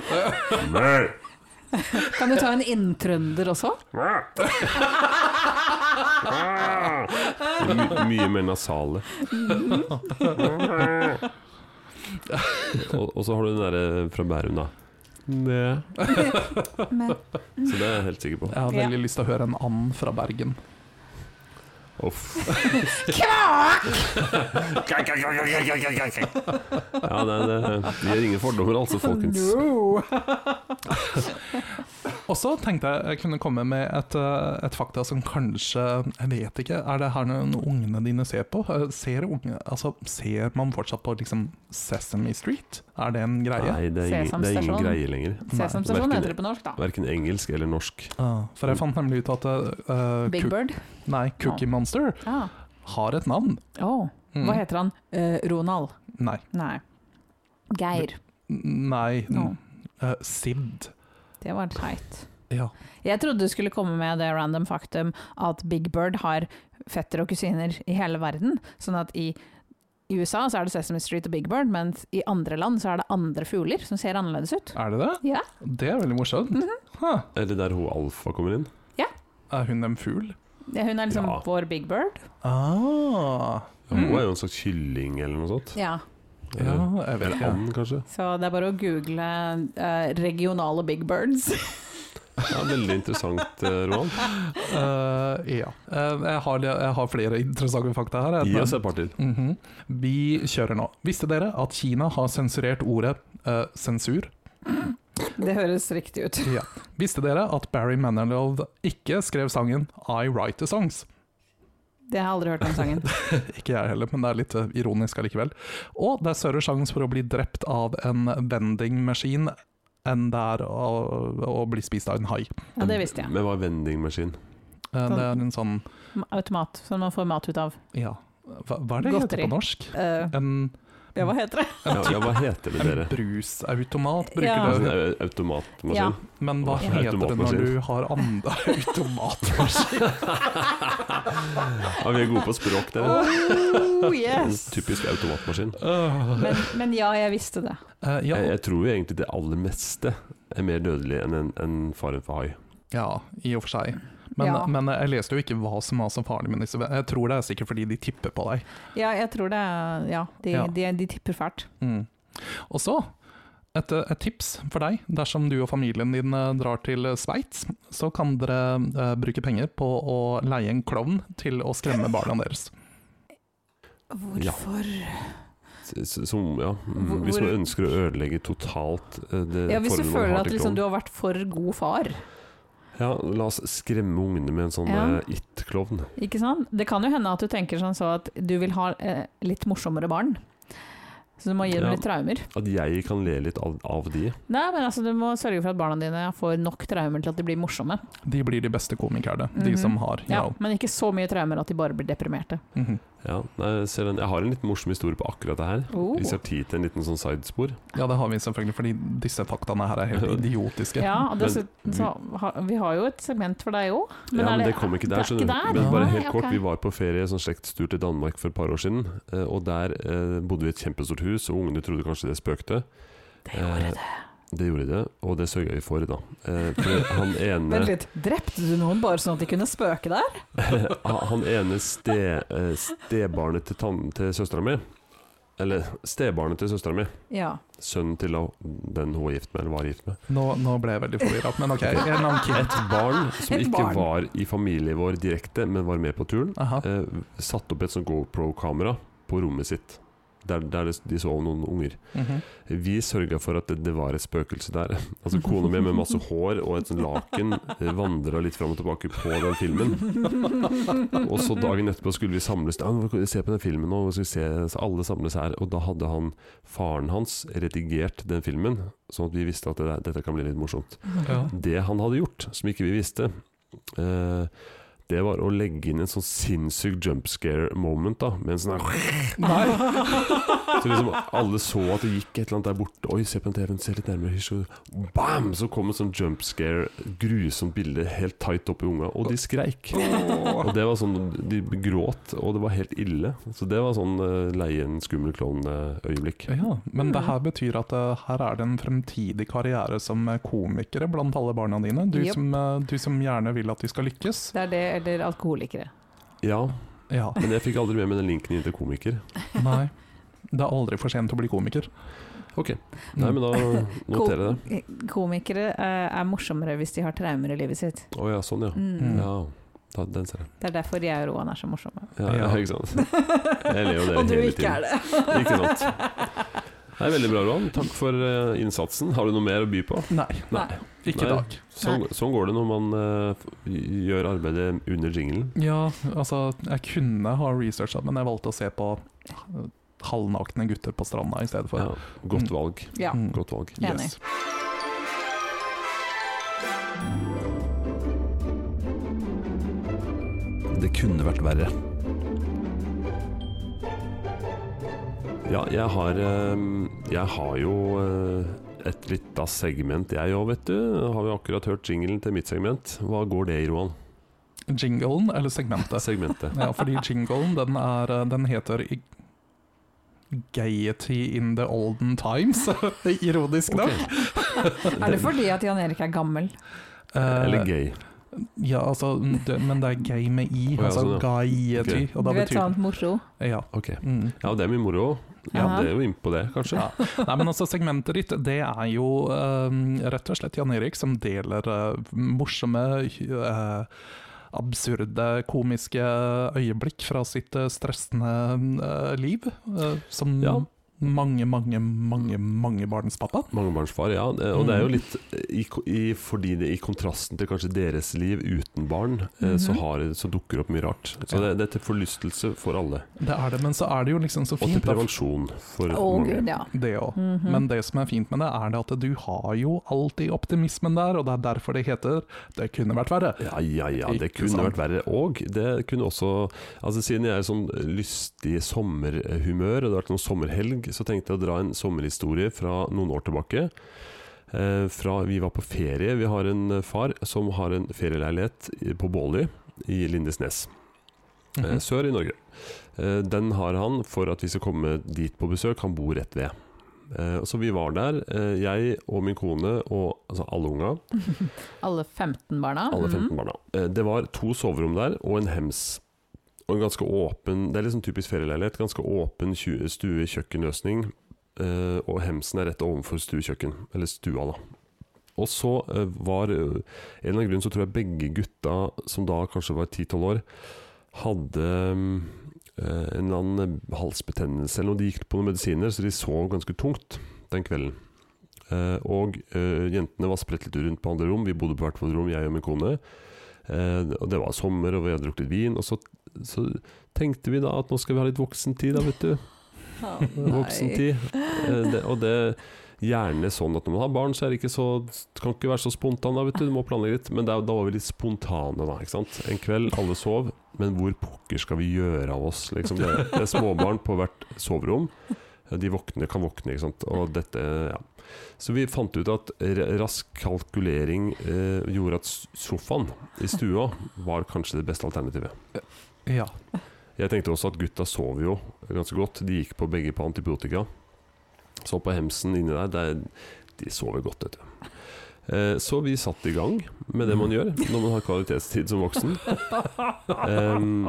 S1: Mø!
S2: Kan du ta en inntrønder også?
S1: Mø! My, mye mer nasale. Og, og så har du den derre fra Bærum, da.
S2: Men,
S1: Så det er jeg helt sikker på.
S3: Jeg har veldig lyst til å høre en and fra Bergen.
S1: Uff. Ja, nei, det, vi har ingen fordommer, altså, folkens.
S2: no.
S3: Og så tenkte jeg jeg kunne komme med et, eh, et fakta som kanskje Jeg vet ikke. Er det her noen ungene dine ser på? Eh, Ser, unge, altså, ser man fortsatt på liksom Sesame Street? Er det en greie?
S1: Nei, det er ingen, det er ingen
S2: Sesamstasjon.
S1: greie lenger.
S2: Sesam Stasjon
S1: Verken-
S2: heter det på norsk, da.
S1: Verken engelsk eller norsk.
S3: Ah, for jeg fant nemlig ut at eh,
S2: Big
S3: Cook-
S2: Bird.
S3: nei, Cookie Monster
S2: Ah.
S3: har et navn.
S2: Å,
S3: Mm.
S2: Hva heter han? Eh, Ronald?
S3: Nei.
S2: Nei. Geir.
S3: Nei.
S2: Å.
S3: eh, Sid.
S2: Det var teit.
S3: Ja.
S2: Jeg trodde du skulle komme med det random faktum at Big Bird har fetter og kusiner i hele verden. Sånn at i i USA så er det Sesame Street og Big Bird, mens i andre land så er det andre fugler som ser annerledes ut.
S3: Er det det?
S2: Ja.
S3: Det er veldig morsomt. Huh.
S1: Eller der hun Alfa kommer inn.
S3: Er hun en fugl?
S2: Ja, Hun er liksom
S1: Ja.
S2: vår Big Bird.
S3: Ah.
S1: Ja, Hun er jo en slags kylling eller noe sånt.
S2: Mm. Ja.
S3: Ja,
S1: Eller
S3: jeg vet
S1: eller
S3: ikke.
S1: and, kanskje.
S2: Så det er bare å google eh, regionale big birds.
S1: Ja, veldig interessant, eh, Roald.
S3: Eh, ja. Eh, jeg, har, jeg har flere interessante fakta her.
S1: Gi oss et par til.
S3: Mhm. Vi kjører nå. Visste dere at Kina har sensurert ordet eh, sensur?
S2: Det høres riktig ut.
S3: Ja. Visste dere at Barry Manilow ikke skrev sangen I Write the Songs?
S2: Det har jeg aldri hørt om sangen.
S3: Ikke jeg heller, men det er litt eh, ironisk allikevel. Og det er større sjanse for å bli drept av en vendingmaskin enn det er å, å bli spist av en hai.
S2: Ja, det visste jeg.
S1: Men hva er vendingmaskin?
S3: Eh, det er en sånn
S2: Automat, som man får mat ut av.
S3: Ja, hva, hva er det det heter
S2: Godteri.
S3: på norsk?
S2: Eh,
S3: En,
S2: ja, hva heter det?
S1: Ja, ja, hva heter det,
S3: en
S1: dere?
S3: brusautomat bruker
S2: Ja.
S1: Altså,
S3: det.
S1: au- Automatmaskin?
S2: Ja.
S3: Men hva
S1: Ja.
S3: heter det når
S1: Automatmaskin.
S3: du har andre automatmaskin?
S1: Ja, vi er gode på språk, dere.
S2: Oh,
S1: En
S2: yes!
S1: typisk automatmaskin.
S3: Øh.
S2: Men, men ja, jeg visste det.
S3: Eh, ja,
S1: Jeg, jeg tror jo egentlig det aller meste er mer dødelig enn en, en faren for hai.
S3: ja, i og for seg. Men,
S2: Ja.
S3: men jeg leste jo ikke hva som var så farlig med disse. Jeg tror det er sikkert fordi de tipper på deg.
S2: Ja, jeg tror det er Ja, de,
S3: Ja.
S2: de, de tipper fælt.
S3: Mm. Og så et, eh, et tips for deg dersom du og familien din eh, drar til eh, Sveits, så kan dere eh, bruke penger på å leie en klovn til å skremme barna deres.
S2: Hvorfor?
S1: S- s- Som, ja. mm,
S2: Hvor-
S1: Hvis man
S2: hvor-
S1: ønsker å ødelegge totalt eh, det
S2: Ja, hvis du
S1: forholdet man
S2: føler
S1: har
S2: at
S1: til
S2: liksom,
S1: klovn.
S2: du har vært for god far.
S1: Ja, la oss skremme ungene med en sånn
S2: Ja.
S1: eh, it-klovn.
S2: Ikke sant? Det kan jo hende at du tenker sånn så at du vil ha eh, litt morsommere barn. Så du må gi dem
S1: Ja.
S2: litt traumer.
S1: At jeg kan le litt av, av de.
S2: Nei, men altså Du må sørge for at barna dine får nok traumer til at de blir morsomme.
S3: De blir de beste komikerne, de
S2: Mhm.
S3: som har
S2: Ja,
S3: ja.
S2: Men ikke så mye traumer at de bare blir deprimerte.
S3: Mhm.
S1: Ja, nei, jeg ser den. Jeg har en litt morsom historie på akkurat det her.
S2: Oh.
S1: Hvis jeg har tid til en liten sånn sidespor.
S3: ja, det har vi selvfølgelig, fordi disse faktaene her er helt idiotiske.
S2: Ja, og
S1: Men
S2: dessuten så har vi har jo et segment for deg òg.
S1: ja, men det, kom ikke der.
S2: Det er
S1: skjønner
S2: ikke
S1: du.
S2: der?
S1: Men bare
S2: Nei,
S1: helt kort,
S2: ok.
S1: Vi var på ferie, sånn slektstur til Danmark for et par år siden. eh, Og der eh, bodde vi i et kjempestort hus, og ungene trodde kanskje det spøkte. Eh,
S2: Det gjorde det.
S1: Det gjorde de, og det sørga vi for, da. Eh, For han ene
S2: Vent litt, drepte du noen bare sånn at de kunne spøke der?
S1: Han han ene ste, eh, stebarnet til, tann- til søstera mi Eller stebarnet til søstera mi.
S2: Ja.
S1: Sønnen til da- den hun var gift med, eller var gift med.
S3: Nå, nå ble jeg veldig forvirra, men ok. En eller annen kid.
S1: Et barn som
S2: Et
S1: ikke
S2: barn.
S1: var i familien vår direkte, men var med på turen,
S3: Aha.
S1: eh, satte opp et sånt GoPro-kamera på rommet sitt. Der, der det- de så noen unger.
S3: Mhm.
S1: Vi sørga for at det, det var et spøkelse der. Altså Kona mi med masse hår og et sånt laken vandra litt fram og tilbake på den filmen. Og så dagen etterpå skulle vi samles ja, nå skal vi Se på den filmen nå, skal vi se, så alle samles her. Og da hadde han, faren hans redigert den filmen, sånn at vi visste at det der, dette kan bli litt morsomt.
S3: Ja.
S1: Det han hadde gjort, som ikke vi visste, eh, det var å legge inn en sånn sinnssyk jumpscare moment, da. Med en sånn her
S3: Nei.
S1: så liksom alle så at det gikk et eller annet der borte. Oi, se på den TV-en, se litt nærmere. Hysj, og bam! Så kom et sånn jumpscare, grusomt bilde helt tight opp i unga, og de skreik. Og det var sånn, De gråt, og det var helt ille. Så det var sånn eh, leie en skummel klovn-øyeblikk.
S3: Ja, men det
S2: Mm.
S3: her betyr at eh, her er det en fremtidig karriere som eh, komikere blant alle barna dine. Du,
S2: Jep.
S3: som, eh, du som gjerne vil at de skal lykkes.
S2: Det er det, eller alkoholikere.
S1: Ja,
S3: Ja,
S1: men jeg fikk aldri med meg den linken inn til komiker.
S3: nei. Det er aldri for sent å bli komiker.
S1: Ok, Nei, men da
S2: Mm.
S1: noterer jeg det.
S2: Komikere eh, er morsommere hvis de har traumer i livet sitt.
S1: Å ja, sånn ja.
S2: Mm.
S1: ja. Da, den ser jeg.
S2: Det er derfor jeg og Roan er så morsomme.
S1: Ja, ja.
S3: Ja.
S1: Ikke sant. Jeg ler jo det
S2: og du
S1: hele
S2: ikke
S1: tiden.
S2: er det.
S1: Ikke sant. Det er veldig bra, Roan. Takk for eh, innsatsen. Har du noe mer å by på?
S3: Nei,
S2: Nei.
S3: ikke
S1: Nei.
S3: i dag.
S1: Sånn, sånn går det når man eh, f- gjør arbeidet under jinglen.
S3: Ja, altså, jeg kunne ha researcha, men jeg valgte å se på eh, halvnakne gutter på stranda i stedet for.
S1: Ja, godt valg.
S2: Ja.
S3: Mm.
S1: Godt valg.
S2: Enig.
S3: Yes.
S1: Det kunne vært verre. Ja, jeg har eh, Jeg har jo eh, et lita segment, jeg òg, vet du. Har vi akkurat hørt jinglen til mitt segment. Hva går det i, Roan?
S3: Jinglen, eller segmentet?
S1: Segmentet.
S3: Ja, fordi jinglen, den, er, eh, den heter i- Gaiety in the olden times. Ironisk nok.
S2: Er det fordi at Jan Erik er gammel?
S3: Eh,
S1: Eller gay.
S3: Ja, altså, det, men det er gay med i.
S1: Å, ja,
S3: altså
S1: sånn, ja.
S3: gaiety. Og
S2: Du
S3: da
S2: vet sånn.
S3: betyr
S2: sånt moro?
S3: Ja.
S1: Ok.
S3: Mm.
S1: Ja, det er mye moro. Ja,
S2: Aha.
S1: det er jo innpå det, kanskje.
S3: Ja. Nei, men altså Segmentet ditt det er jo eh, rett og slett Jan Erik som deler eh, morsomme, eh, absurde, komiske øyeblikk fra sitt eh, stressende eh, liv. eh, som
S1: Ja.
S3: mange, mange, mange mange barnspappa.
S1: Mangebarnsfar, ja. Eh, Og det
S3: Mm.
S1: er jo litt eh, i, i, Fordi det i kontrasten til kanskje deres liv uten barn, eh, så,
S2: Mhm.
S1: har, så dukker det opp mye rart. Så
S3: Ja.
S1: det, det er til forlystelse for alle.
S3: Det er det, men så er det jo liksom så
S1: Og til
S3: fint. da,
S1: prevensjon for
S2: Å
S1: mange.
S2: gud, ja.
S3: Det òg.
S2: Mhm.
S3: Men det som er fint med det, er det at du har jo alltid optimismen der, og det er derfor det heter 'det kunne vært verre'.
S1: Ja, ja, ja. Det
S3: Ikke
S1: kunne
S3: sant?
S1: vært verre. Og det kunne også Altså Siden jeg er i sånn lystig sommerhumør, og det har vært noen sommerhelg, så tenkte jeg å dra en sommerhistorie fra noen år tilbake. Eh, fra vi var på ferie. Vi har en far som har en ferieleilighet i- på Båløy i Lindesnes. eh,
S3: Mhm.
S1: sør i Norge. Eh, Den har han for at vi skal komme dit på besøk. Han bor rett ved. Eh, så vi var der, eh, jeg og min kone og altså alle unga.
S2: Alle 15 barna.
S1: Alle 15
S2: Mhm.
S1: barna. Eh, Det var to soverom der, og en hems. Og en ganske åpen Det er liksom typisk ferieleilighet. Ganske åpen tju- stue-kjøkkenløsning. eh, Og hemsen er rett overfor stue-kjøkken. Eller stua, da. Og så eh, var eh, En eller annen grunn så tror jeg begge gutta, som da kanskje var 10-12 år, hadde mm, eh, en eller annen halsbetennelse eller noe. De gikk på noen medisiner, så de sov ganske tungt den kvelden. Eh, og eh, jentene var spredt litt rundt på andre rom. Vi bodde på hvert vårt rom, jeg og min kone. Eh, og det var sommer, og vi hadde drukket vin. Og så, så tenkte vi da at nå skal vi ha litt voksentid, da, vet du.
S2: Å, nei.
S1: Voksentid. Eh, det, og det gjerne sånn at når man har barn, så er det ikke så det kan ikke være så spontan, da, vet du. Du må planlegge litt. Men da, da var vi litt spontane, da. ikke sant? En kveld, alle sov. Men hvor pokker skal vi gjøre av oss? Liksom det, det er småbarn på hvert soverom. De våkner, kan våkne, ikke sant. Og dette, ja. Så vi fant ut at r- rask kalkulering eh, gjorde at s- sofaen i stua var kanskje det beste alternativet.
S3: Ja.
S1: Jeg tenkte også at gutta sov jo ganske godt. De gikk på begge på antibiotika. Så på hemsen inni der, der De sover godt, vet du. Eh, Så vi satt i gang med det man gjør når man har kvalitetstid som voksen. Em,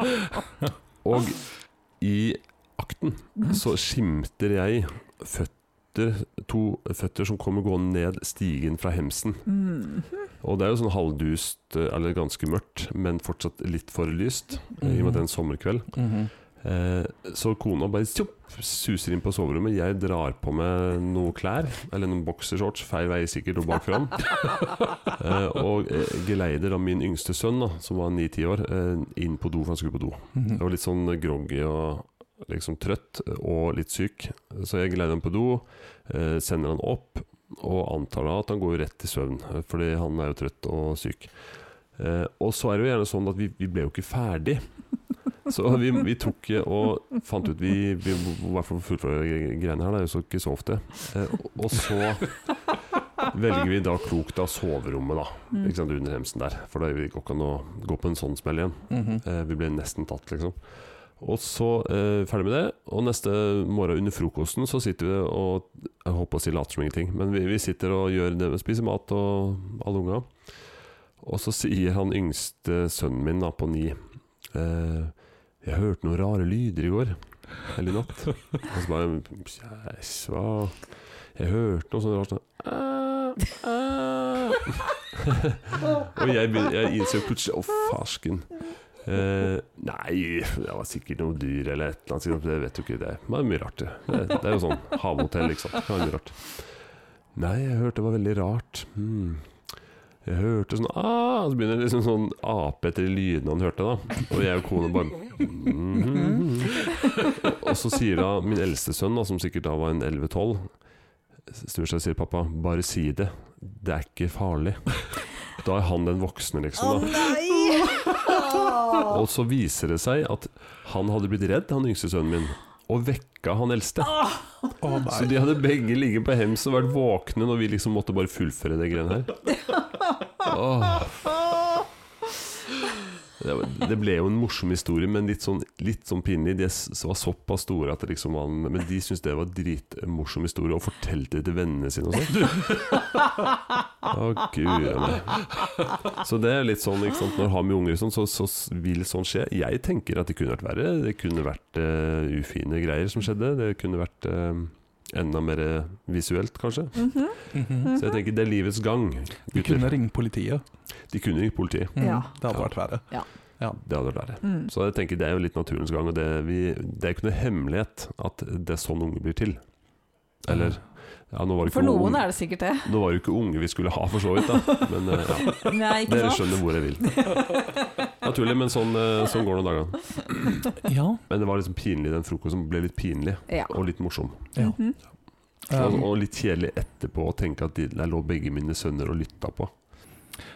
S1: og i akten så skimter jeg føtter, to føtter som kommer gående ned stigen fra hemsen.
S2: Mhm.
S1: Og det er jo sånn halvdust, eh, eller ganske mørkt, men fortsatt litt for lyst, eh, i og med at det er en sommerkveld.
S3: Mhm.
S1: Eh, så kona bare tjopp, suser inn på soverommet. Jeg drar på meg noen klær, eller noen boksershorts, feil vei sikkert, og bak fram. eh, og eh, geleider da min yngste sønn, da, som var 9-10 år, eh, inn på do, for han skulle på do. Jeg
S3: Mhm.
S1: var litt sånn groggy og liksom trøtt, og litt syk. Så jeg geleider han på do, eh, sender han opp, og antar da at han går rett i søvn, eh, fordi han er jo trøtt og syk. Eh, og så er det jo gjerne sånn at vi, vi ble jo ikke ferdig. Så vi, vi tok eh, og fant ut Vi, vi i hvert fall fullfører gre- greiene her, det er jo så ikke så ofte. Eh, og så velger vi da klokt av soverommet, da.
S2: Mhm.
S1: Ikke sant, under hemsen der. For da går ikke an å gå på en sånn smell igjen.
S3: Mhm.
S1: Eh, Vi ble nesten tatt, liksom. Og så eh, ferdig med det. Og neste morgen under frokosten så sitter vi og Jeg holdt på å si later som ingenting, men vi, vi sitter og gjør det, spiser mat og alle unga. Og så sier han yngste sønnen min, da, på ni eh, 'Jeg hørte noen rare lyder i går. Eller i natt.' Og så bare 'Jæs, hva Jeg hørte noe sånt rart. sånn, «Æ, æ». og jeg, begyn- jeg innså plutselig 'Å, farsken'. Eh, nei, det var sikkert noe dyr eller et eller annet. sikkert, Det vet jo ikke det. Men det er mye rart, det. Det, det er jo sånn havhotell, ikke sant. Det kan være mye rart. Nei, jeg hørte det var veldig rart. Hmm. Jeg hørte sånn ah, Så begynner det liksom sånn ape etter de lydene han hørte, da. Og jeg og kona bare mhm. Og så sier da min eldste sønn, da, som sikkert da var en 11-12, snur seg og sier pappa, bare si det. Det er ikke farlig. Da er han den voksne, liksom. da og så viser det seg at han hadde blitt redd, han yngste sønnen min, og vekka han eldste.
S3: Å, nei.
S1: Så de hadde begge ligget på hems og vært våkne når vi liksom måtte bare fullføre det greiene her. Åh. Det var- Det ble jo en morsom historie, men litt sånn, litt sånn pinlig. De s- var såpass store at det liksom var en, Men de syntes det var dritmorsom historie, og fortalte det til vennene sine og sånn. Å, gud a meg. Så det er litt sånn, ikke sant? når du har med unger og sånn, så, så s- vil sånn skje. Jeg tenker at det kunne vært verre. Det kunne vært eh, ufine greier som skjedde. Det kunne vært eh, enda mer visuelt, kanskje.
S2: Mhm.
S1: Så jeg tenker det er livets gang,
S3: Vi
S1: gutter.
S3: kunne ringt politiet.
S1: De kunne ringt politiet.
S3: Mhm.
S2: Ja.
S3: Det hadde vært verre.
S1: Det hadde vært verre.
S2: Mhm.
S1: Så jeg tenker det er jo litt naturens gang, og det, vi, det er ikke noe hemmelighet at det er sånn unge blir til. Eller ja, nå var det ikke
S2: For noen er det sikkert det.
S1: Nå var det jo ikke unge vi skulle ha, for så vidt, da. Men eh, ja.
S2: Nei, ikke
S1: dere
S2: sant?
S1: skjønner hvor jeg vil. Naturlig, men sånn, eh, sånn går det noen dager.
S3: Ja.
S1: Men det var liksom pinlig den frokosten ble litt pinlig
S2: Ja.
S1: og litt morsom.
S3: Ja.
S2: Mhm.
S1: Og,
S3: Um,
S1: og litt kjedelig etterpå å tenke at de, der lå begge mine sønner og lytta på.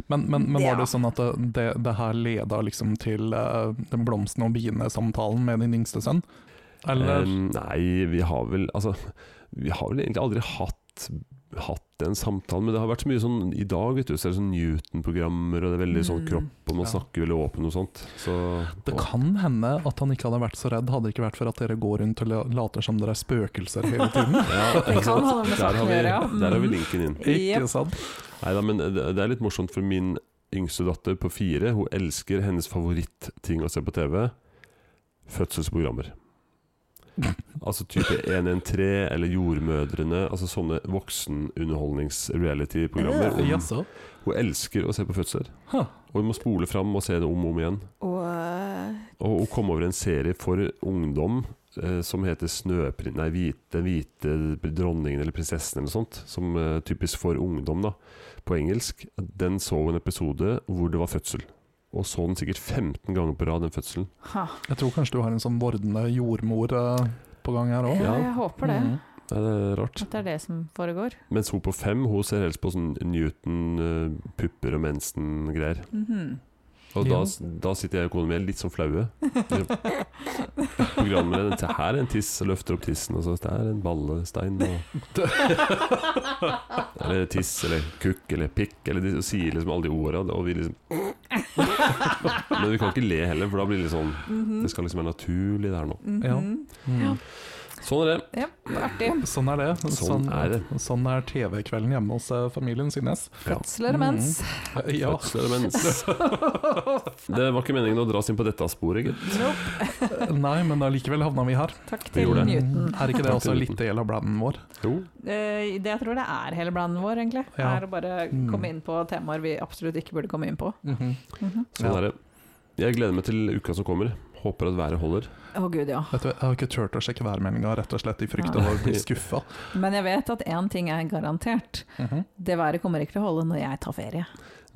S3: men, men, men var
S2: Ja.
S3: det sånn at det, det, det her leda liksom til eh, den blomsten og biene-samtalen med din yngste sønn? Eller
S1: Um, Eh, nei, vi har vel Altså, vi har vel egentlig aldri hatt hatt den samtalen. Men det har vært så mye sånn i dag, vet du, så er det sånn Newton-programmer, og det er veldig sånn
S2: Mm.
S1: kropp, og man
S3: Ja.
S1: snakker veldig åpent og sånt. Så
S3: Det kan hende at han ikke hadde vært så redd, hadde det ikke vært for at dere går rundt og la- later som dere er spøkelser hele tiden.
S1: ja,
S2: Det kan ha noe med
S1: der, har
S2: saken å
S1: vi,
S2: gjøre, ja. Mm.
S1: der har vi linken inn.
S3: Ikke sant?
S1: Neida, men det det er litt morsomt, for min yngste datter på fire Hun elsker hennes favorittting å se på TV. Fødselsprogrammer. Altså type 113 eller Jordmødrene. Altså sånne voksenunderholdnings-reality-programmer.
S2: Mm.
S1: Hun,
S3: Jaså?
S1: hun elsker å se på fødsler.
S3: Huh.
S1: Og hun må spole fram og se det om og om igjen.
S2: Mm. Og
S1: Og hun kom over en serie for ungdom eh, som heter Snøprin... Nei, hvite, hvite dronningen eller prinsessen eller noe sånt. Som eh, typisk for ungdom, da. På engelsk. Den så hun en episode hvor det var fødsel. Og så den sikkert 15 ganger på rad, den fødselen.
S2: ha.
S3: Jeg tror kanskje du har en sånn vordende jordmor eh, på gang her Mm. òg.
S2: Ja,
S1: Ja. Mm.
S2: jeg håper det.
S1: Det er rart.
S2: At det er det som foregår.
S1: Mens hun på fem hun ser helst på sånn Newton, eh, pupper og mensen-greier.
S2: Mhm.
S1: Og da,
S3: Jo.
S1: da sitter jeg og kona mi litt sånn flaue. Liksom. Programmet dette her er en tiss, og løfter opp tissen, og så det er en ballestein. Og eller tiss, eller kukk, eller pikk, eller de sier liksom alle de orda, og vi liksom Men vi kan ikke le heller, for da blir det litt sånn
S2: Mhm.
S1: Det skal liksom være naturlig, det her nå.
S2: Mhm.
S3: Mm.
S1: Sånn er det.
S2: Ja, artig.
S3: Sånn er det.
S1: Sånn er det.
S3: sånn er TV-kvelden hjemme hos eh, familien Signes.
S2: Fødsler
S1: Mm.
S2: mens.
S3: Eh, Ja.
S1: Fødsler og mens. Det var ikke meningen å dras inn på dette sporet, gitt.
S2: Nope.
S3: Nei, men allikevel havna vi her.
S2: Takk
S1: Vi
S2: til
S1: gjorde det.
S2: Newton.
S3: Er ikke det
S1: Takk
S3: også
S1: til
S3: litt del av blanden vår?
S1: Jo.
S2: Eh, det jeg tror det er hele blanen vår, egentlig.
S3: Ja.
S2: Er å bare
S3: Mm.
S2: komme inn på temaer vi absolutt ikke burde komme inn på. Mhm.
S1: Sånn
S3: Ja.
S1: er det. Jeg gleder meg til uka som kommer. Håper at været holder.
S2: Å gud, ja.
S3: Vet du, Jeg har ikke turt å sjekke værmeldinga, rett og slett i frykt av å bli skuffa.
S2: Men jeg vet at én ting er garantert. Det været kommer ikke til å holde når jeg tar ferie.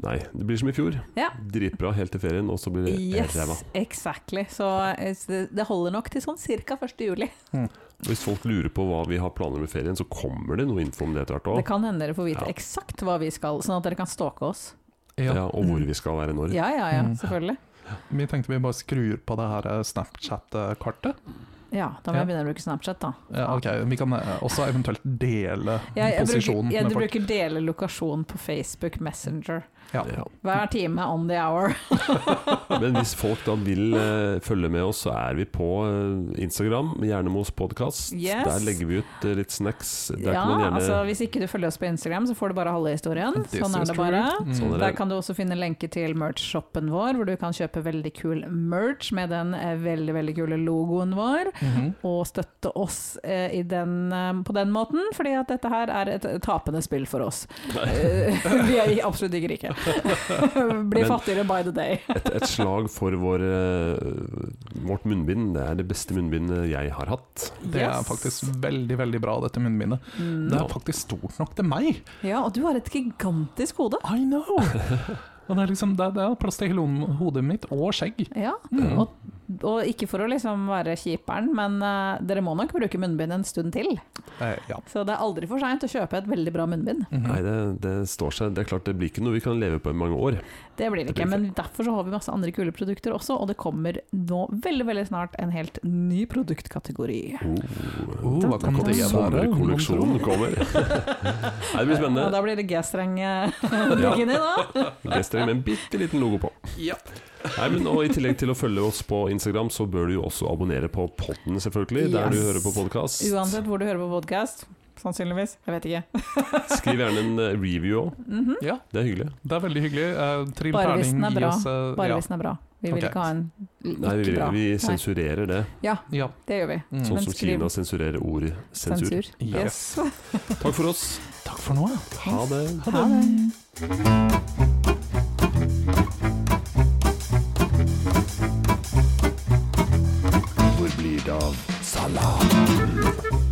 S1: Nei, det blir som i fjor.
S2: Ja.
S1: Dritbra helt til ferien, og så blir det helt ræva.
S2: Yes, exactly. Så eh, s- det holder nok til sånn ca. 1. juli.
S1: Hvis folk lurer på hva vi har planer med ferien, så kommer det noe info om det etter hvert òg.
S2: Det kan hende dere får vite
S1: Ja.
S2: eksakt hva vi skal, sånn at dere kan stalke oss.
S1: Ja.
S3: Ja.
S1: og hvor vi skal være når.
S2: Mm. Ja, ja, ja,
S3: Mm.
S2: selvfølgelig.
S3: Vi tenkte vi bare skrur på det her eh, Snapchat-kartet.
S2: Ja, da må
S3: Ja.
S2: jeg begynne å bruke Snapchat, da.
S3: Ja, ok, Vi kan eh, også eventuelt dele
S2: Jeg, jeg, bruker,
S3: posisjonen
S2: jeg
S3: med folk.
S2: bruker dele lokasjon på Facebook Messenger.
S3: Ja.
S1: Ja.
S2: Hver time on the hour.
S1: Men hvis folk da vil eh, følge med oss, så er vi på eh, Instagram, Hjernemos podkast.
S2: Yes.
S1: Der legger vi ut eh, litt snacks. Der
S2: Ja,
S1: kan man gjerne
S2: altså Hvis ikke du følger oss på Instagram, så får du bare halve historien.
S3: This
S2: Sånn
S3: is
S2: er det bare.
S3: true.
S1: Sånn er det.
S2: Der kan du også finne lenke til merch-shoppen vår, hvor du kan kjøpe veldig kul merch med den eh, veldig veldig kule logoen vår,
S3: Mhm.
S2: og støtte oss eh, i den, eh, på den måten, fordi at dette her er et tapende spill for oss. Eh, Vi er absolutt ikke rike. Blir
S1: Men-
S2: fattigere by the day.
S1: et, et slag for vår, eh, vårt munnbind. Det er det beste munnbindet jeg har hatt.
S3: Det er
S2: Yes.
S3: faktisk veldig veldig bra, dette munnbindet.
S2: Mm.
S3: Det er faktisk stort nok til meg!
S2: Ja, og du har et gigantisk hode.
S3: I know! Og det er liksom, det er, det er plass til hele hom- hodet mitt, og skjegg.
S2: Ja,
S3: Mm.
S2: og, og ikke for å liksom være kjiperen, men eh, dere må nok bruke munnbind en stund til.
S3: Eh, ja.
S2: Så det er aldri for seint å kjøpe et veldig bra munnbind.
S3: Mhm.
S1: Nei, det, det står seg. Det er klart det blir ikke noe vi kan leve på i mange år.
S2: Det blir
S1: Det blir
S2: det ikke, men derfor så har vi masse andre kule produkter også, og det kommer nå veldig veldig snart en helt ny produktkategori.
S1: Oh.
S3: Oh, hva kan det
S2: sånn,
S3: være?
S1: Sommerkolleksjonen kommer. Nei, det blir
S2: Og
S1: spennende.
S2: da blir det G-streng-bikini, da.
S1: G-streng med en bitte liten logo på.
S3: Ja.
S1: Nei, men og I tillegg til å følge oss på Instagram, så bør du jo også abonnere på podden, selvfølgelig. Der du
S2: Yes.
S1: hører på podkast.
S2: Uansett hvor du hører på podkast. Sannsynligvis. Jeg vet ikke.
S1: Skriv gjerne en eh, review òg.
S2: Mhm.
S3: ja,
S1: Det er hyggelig.
S3: det er veldig hyggelig. Eh, Trill
S2: Bare hvis den er
S3: terning, gi
S2: bra.
S3: oss eh,
S2: Bare
S3: ja.
S2: hvis den er bra. Vi vil
S3: Ok.
S2: ikke ha en
S1: Nei, vi,
S2: Mm, ikke bra.
S1: vi
S2: Nei,
S1: sensurerer det.
S3: Ja.
S2: det gjør vi.
S3: Mm.
S1: Sånn
S2: Men
S1: som
S2: skriv-
S1: Kina sensurerer ordet sensur.
S2: Sensur.
S3: Yes.
S1: Takk for oss.
S3: Takk for nå.
S1: Ha det.
S2: Ha det.
S1: Hvor blir det av salat?